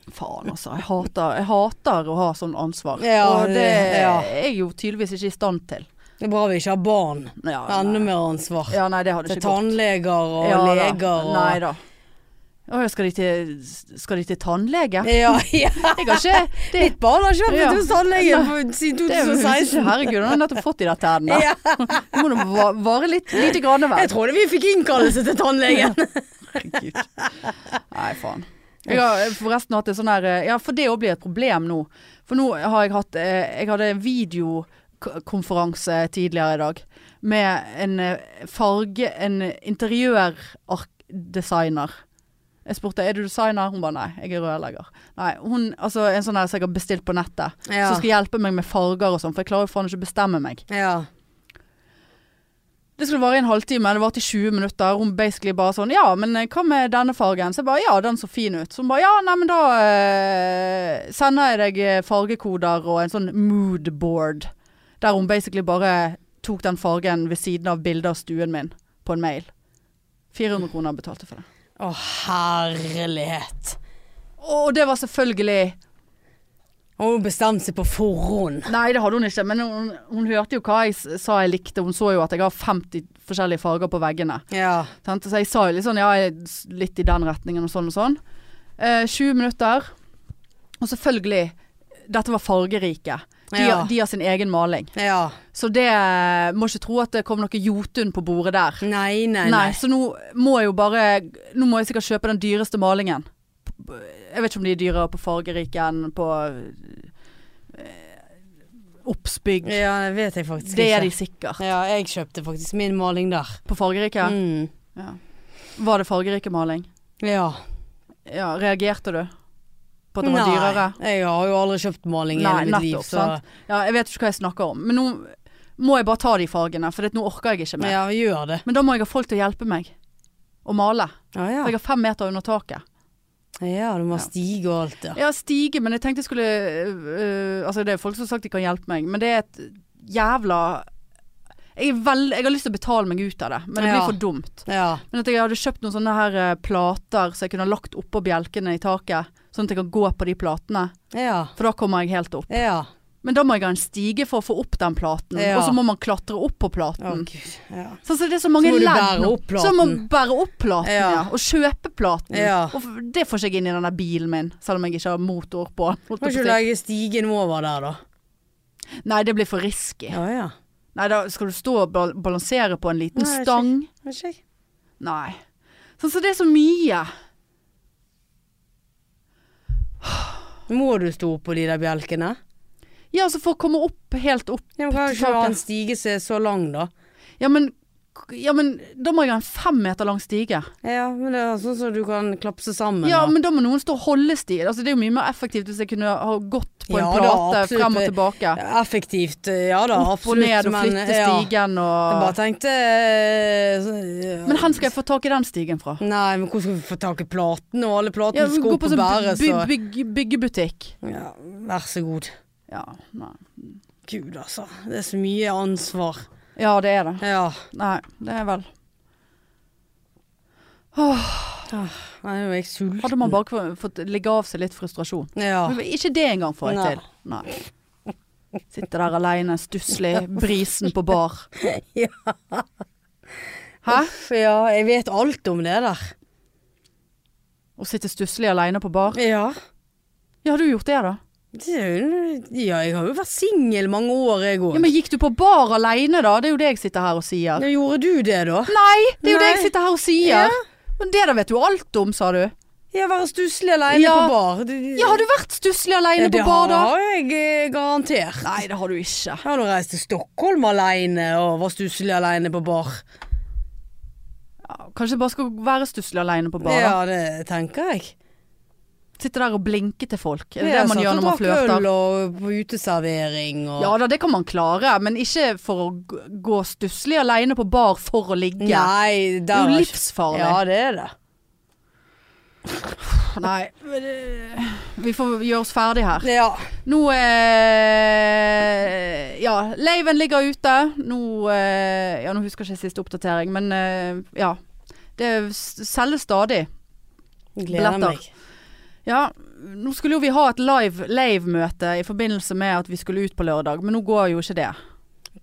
Speaker 1: Faen altså, jeg hater, jeg hater å ha sånn ansvar.
Speaker 2: Ja,
Speaker 1: og det
Speaker 2: ja.
Speaker 1: er jeg jo tydeligvis ikke i stand til.
Speaker 2: Det er bra vi ikke har barn.
Speaker 1: Ja,
Speaker 2: Enda mer ansvar.
Speaker 1: ja, nei, det hadde
Speaker 2: Til
Speaker 1: ikke gått.
Speaker 2: tannleger og
Speaker 1: Ja da.
Speaker 2: leger og
Speaker 1: Nei da. Å, ja, skal de til, skal de til tannlege?
Speaker 2: Ja, ja.
Speaker 1: Jeg har ikke det,
Speaker 2: Mitt barn har ikke
Speaker 1: Ja.
Speaker 2: vært hos tannlege på- siden
Speaker 1: det er jo
Speaker 2: 2016.
Speaker 1: Herregud, han har nettopp fått de der tennene.
Speaker 2: Ja.
Speaker 1: Det må nå va- vare litt, lite grann
Speaker 2: Jeg
Speaker 1: vel.
Speaker 2: trodde vi fikk innkallelse til tannlegen.
Speaker 1: Herregud. Nei, faen. Jeg har forresten hatt en sånn her eh, Ja, for det òg blir et problem nå. For nå har jeg hatt eh, Jeg hadde en videokonferanse tidligere i dag med en eh, farge En interiørdesigner. Jeg spurte er du designer, hun bare nei, jeg er rørlegger. Nei, hun, altså En sånn her som jeg har bestilt på nettet,
Speaker 2: Ja.
Speaker 1: som skal hjelpe meg med farger og sånn, for jeg klarer jo faen ikke å bestemme meg.
Speaker 2: Ja.
Speaker 1: Det skulle vare i en halvtime, det varte i 20 minutter. Hun basically bare sånn Ja, men eh, hva med denne fargen? Så jeg bare Ja, den så fin ut. Så hun bare Ja, nei, men da eh, sender jeg deg eh, fargekoder og en sånn moodboard. Der hun basically bare tok den fargen ved siden av bildet av stuen min på en mail. 400 kroner betalte jeg for det.
Speaker 2: Å, herlighet.
Speaker 1: Og det var selvfølgelig
Speaker 2: Og hun bestemte seg på forhånd.
Speaker 1: Nei, det hadde hun ikke, men hun, hun hørte jo hva jeg s- sa jeg likte. Hun så jo at jeg har 50 forskjellige farger på veggene.
Speaker 2: Ja.
Speaker 1: Sant? Så jeg sa jo litt sånn, ja, jeg er s- litt i den retningen og sånn og sånn. Eh, 20 minutter. Og selvfølgelig, dette var fargerike. De,
Speaker 2: Ja.
Speaker 1: de har sin egen maling.
Speaker 2: Ja.
Speaker 1: Så det eh, må ikke tro at det kom noe Jotun på bordet der.
Speaker 2: Nei, nei,
Speaker 1: Nei,
Speaker 2: nei.
Speaker 1: så nå må jeg jo bare Nå må jeg sikkert kjøpe den dyreste malingen. Jeg vet ikke om de er dyrere på fargerike enn på eh, Oppsbygg.
Speaker 2: Ja, det vet jeg faktisk
Speaker 1: Det er de
Speaker 2: ikke.
Speaker 1: sikkert.
Speaker 2: Ja, jeg kjøpte faktisk min maling der.
Speaker 1: På fargerike?
Speaker 2: Mm.
Speaker 1: Ja. Var det fargerike maling?
Speaker 2: Ja.
Speaker 1: Ja, reagerte du på at det var
Speaker 2: Nei,
Speaker 1: dyrere?
Speaker 2: Jeg har jo aldri kjøpt maling i
Speaker 1: Nei,
Speaker 2: hele mitt liv,
Speaker 1: nettopp,
Speaker 2: så
Speaker 1: sant? Ja, jeg vet ikke hva jeg snakker om, men nå må jeg bare ta de fargene, for det, nå orker jeg ikke mer.
Speaker 2: ja, gjør det.
Speaker 1: Men da må jeg ha folk til å hjelpe meg å male.
Speaker 2: Ja, ja.
Speaker 1: For jeg har fem meter under taket.
Speaker 2: ja du må
Speaker 1: Ja.
Speaker 2: stige og alt, ja.
Speaker 1: Jeg har stige, men jeg tenkte jeg skulle øh, Altså, det er folk som har sagt de kan hjelpe meg, men det er et jævla jeg, er veld, jeg har lyst til å betale meg ut av det, men det blir
Speaker 2: Ja.
Speaker 1: for dumt.
Speaker 2: Ja.
Speaker 1: Men at jeg hadde kjøpt noen sånne her eh, plater som jeg kunne ha lagt oppå bjelkene i taket. Sånn at jeg kan gå på de platene.
Speaker 2: Ja.
Speaker 1: For da kommer jeg helt opp.
Speaker 2: Ja.
Speaker 1: Men da må jeg ha en stige for å få opp den platen.
Speaker 2: Ja.
Speaker 1: Og så må man klatre opp på platen.
Speaker 2: Å, gud. Ja.
Speaker 1: Så, så det er så mange
Speaker 2: Så må du
Speaker 1: ledd
Speaker 2: bære
Speaker 1: nå.
Speaker 2: opp platen.
Speaker 1: Så må man bære opp platen, ja.
Speaker 2: Ja.
Speaker 1: Og kjøpe platen.
Speaker 2: Ja.
Speaker 1: Og f- det får ikke jeg inn i denne bilen min, selv om jeg ikke har motor på. holdt
Speaker 2: Kan
Speaker 1: jeg
Speaker 2: ikke du
Speaker 1: på å si.
Speaker 2: legge stigen over der, da?
Speaker 1: Nei, det blir for risky.
Speaker 2: Ja, ja.
Speaker 1: Nei, da skal du stå og bal- balansere på en liten
Speaker 2: Nei, jeg
Speaker 1: stang.
Speaker 2: Vet ikke jeg.
Speaker 1: Nei. Sånn så det er så mye.
Speaker 2: Må du stå på de der bjelkene?
Speaker 1: Ja, altså for å komme opp, helt opp
Speaker 2: Ja, men kan
Speaker 1: Til
Speaker 2: ikke du ha
Speaker 1: taket.
Speaker 2: en stige som er så lang, da?
Speaker 1: Ja, men, ja, men da må jeg ha en fem meter lang stige.
Speaker 2: Ja, men det er sånn som du kan klapse sammen.
Speaker 1: ja,
Speaker 2: da.
Speaker 1: men da må noen stå og holde stige. Altså, det er jo mye mer effektivt hvis jeg kunne ha gått på
Speaker 2: Ja,
Speaker 1: en
Speaker 2: da,
Speaker 1: plate
Speaker 2: absolutt.
Speaker 1: frem og tilbake.
Speaker 2: Effektivt, eh, ja da,
Speaker 1: Opp
Speaker 2: absolutt.
Speaker 1: og ned og
Speaker 2: men,
Speaker 1: flytte
Speaker 2: ja.
Speaker 1: stigen
Speaker 2: Jeg bare
Speaker 1: og
Speaker 2: tenkte eh, så-
Speaker 1: Men hvor skal jeg få tak i den stigen fra?
Speaker 2: Nei, men hvor skal vi få tak i platen? Og alle platene
Speaker 1: Ja,
Speaker 2: skal
Speaker 1: gå
Speaker 2: opp
Speaker 1: på
Speaker 2: og
Speaker 1: sånn
Speaker 2: bære,
Speaker 1: by,
Speaker 2: så
Speaker 1: bygg, byggebutikk.
Speaker 2: ja, Vær så god.
Speaker 1: Ja, nei.
Speaker 2: Gud, altså. Det er så mye ansvar.
Speaker 1: ja, det er det.
Speaker 2: Ja.
Speaker 1: Nei, det er vel
Speaker 2: Nei, nå er jeg sulten.
Speaker 1: Hadde man bare få- fått ligge av seg litt frustrasjon.
Speaker 2: Ja.
Speaker 1: Men Ikke det engang får jeg
Speaker 2: Nei.
Speaker 1: til. Nei. Sitte der aleine, stusslig, brisen på bar.
Speaker 2: Ja.
Speaker 1: Hæ?
Speaker 2: Uff, ja, jeg vet alt om det der.
Speaker 1: Å sitte stusslig aleine på bar.
Speaker 2: Ja.
Speaker 1: Ja, har du gjort det, da?
Speaker 2: Det er jo- ja, jeg har jo vært singel mange år, jeg òg.
Speaker 1: Ja, Men gikk du på bar aleine, da? Det er jo det jeg sitter her og sier.
Speaker 2: Ja, Gjorde du det, da?
Speaker 1: Nei, det er jo det jeg
Speaker 2: Nei.
Speaker 1: sitter her og sier.
Speaker 2: Ja.
Speaker 1: Men det der vet du alt om, sa du.
Speaker 2: Ja, være stusslig alene
Speaker 1: Ja.
Speaker 2: på bar. Du, du,
Speaker 1: Ja, har du vært stusslig
Speaker 2: Ja,
Speaker 1: aleine
Speaker 2: det
Speaker 1: på bar, da?
Speaker 2: har jeg eh, garantert.
Speaker 1: Nei, det har du ikke.
Speaker 2: Jeg har nå reist til Stockholm alene og var stusslig alene på bar.
Speaker 1: Ja, kanskje jeg bare skal være stusslig aleine på bar. da.
Speaker 2: Ja, det tenker jeg.
Speaker 1: Sitte der og blinke til folk. Er det
Speaker 2: Jeg
Speaker 1: det man
Speaker 2: satt
Speaker 1: gjør
Speaker 2: og
Speaker 1: når man
Speaker 2: drakk
Speaker 1: flørter?
Speaker 2: øl og på uteservering og
Speaker 1: Ja da, det kan man klare, men ikke for å g- gå stusslig aleine på bar for å ligge.
Speaker 2: Nei,
Speaker 1: det er
Speaker 2: der
Speaker 1: jo
Speaker 2: har ikke-
Speaker 1: livsfarlig.
Speaker 2: Ja, det er det.
Speaker 1: Nei, men det- vi får gjøre oss ferdig her.
Speaker 2: Ja.
Speaker 1: Nå eh, Ja, laven ligger ute. Nå eh, Ja, nå husker jeg ikke siste oppdatering, men eh, ja. Det s- selges stadig.
Speaker 2: Gleder
Speaker 1: Billetter.
Speaker 2: meg.
Speaker 1: Ja, nå skulle jo vi ha et live lave-møte i forbindelse med at vi skulle ut på lørdag, men nå går jo ikke det.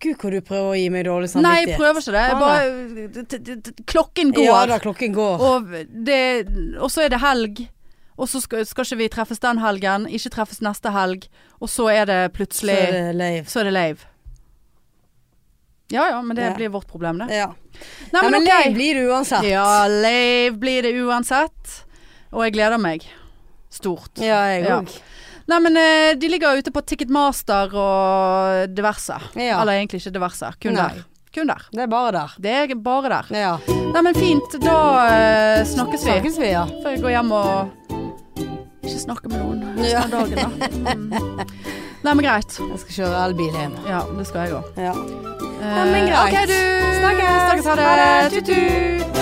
Speaker 2: Gud, hvor du prøver å gi meg dårlig
Speaker 1: Nei, jeg
Speaker 2: samvittighet.
Speaker 1: prøver ikke det. Jeg
Speaker 2: Ah,
Speaker 1: bare t- t- t- Klokken går.
Speaker 2: Ja da, klokken går.
Speaker 1: Og, det, og så er det helg, og så skal, skal ikke vi treffes den helgen, ikke treffes neste helg, og så er det
Speaker 2: Så er
Speaker 1: plutselig
Speaker 2: det lave.
Speaker 1: Så er det lave. Ja ja, men det
Speaker 2: Ja.
Speaker 1: blir vårt problem, det.
Speaker 2: Ja.
Speaker 1: Nei,
Speaker 2: Nei,
Speaker 1: men,
Speaker 2: men
Speaker 1: ok.
Speaker 2: lei blir det uansett.
Speaker 1: Ja, lave blir det uansett. Og jeg gleder meg. Stort.
Speaker 2: Ja, jeg
Speaker 1: Ja.
Speaker 2: òg.
Speaker 1: Nei, men eh, de ligger ute på Ticketmaster og diverse.
Speaker 2: Ja.
Speaker 1: Eller egentlig ikke diverse, kun
Speaker 2: Nei.
Speaker 1: der. kun der.
Speaker 2: Det er bare der.
Speaker 1: Det er bare der.
Speaker 2: Ja.
Speaker 1: Nei, men fint. Da eh, snakkes vi.
Speaker 2: Snakkes vi, ja.
Speaker 1: Får jeg gå hjem og ikke snakke med noen resten av dagen, da. Mm. Nei, men greit.
Speaker 2: Jeg skal kjøre elbil hjem.
Speaker 1: Ja, det skal jeg òg.
Speaker 2: Ja.
Speaker 1: Eh,
Speaker 2: men greit.
Speaker 1: OK, du.
Speaker 2: Snakkes.
Speaker 1: Snakkes. Ha det.
Speaker 2: Ha det.
Speaker 1: Tut-tut.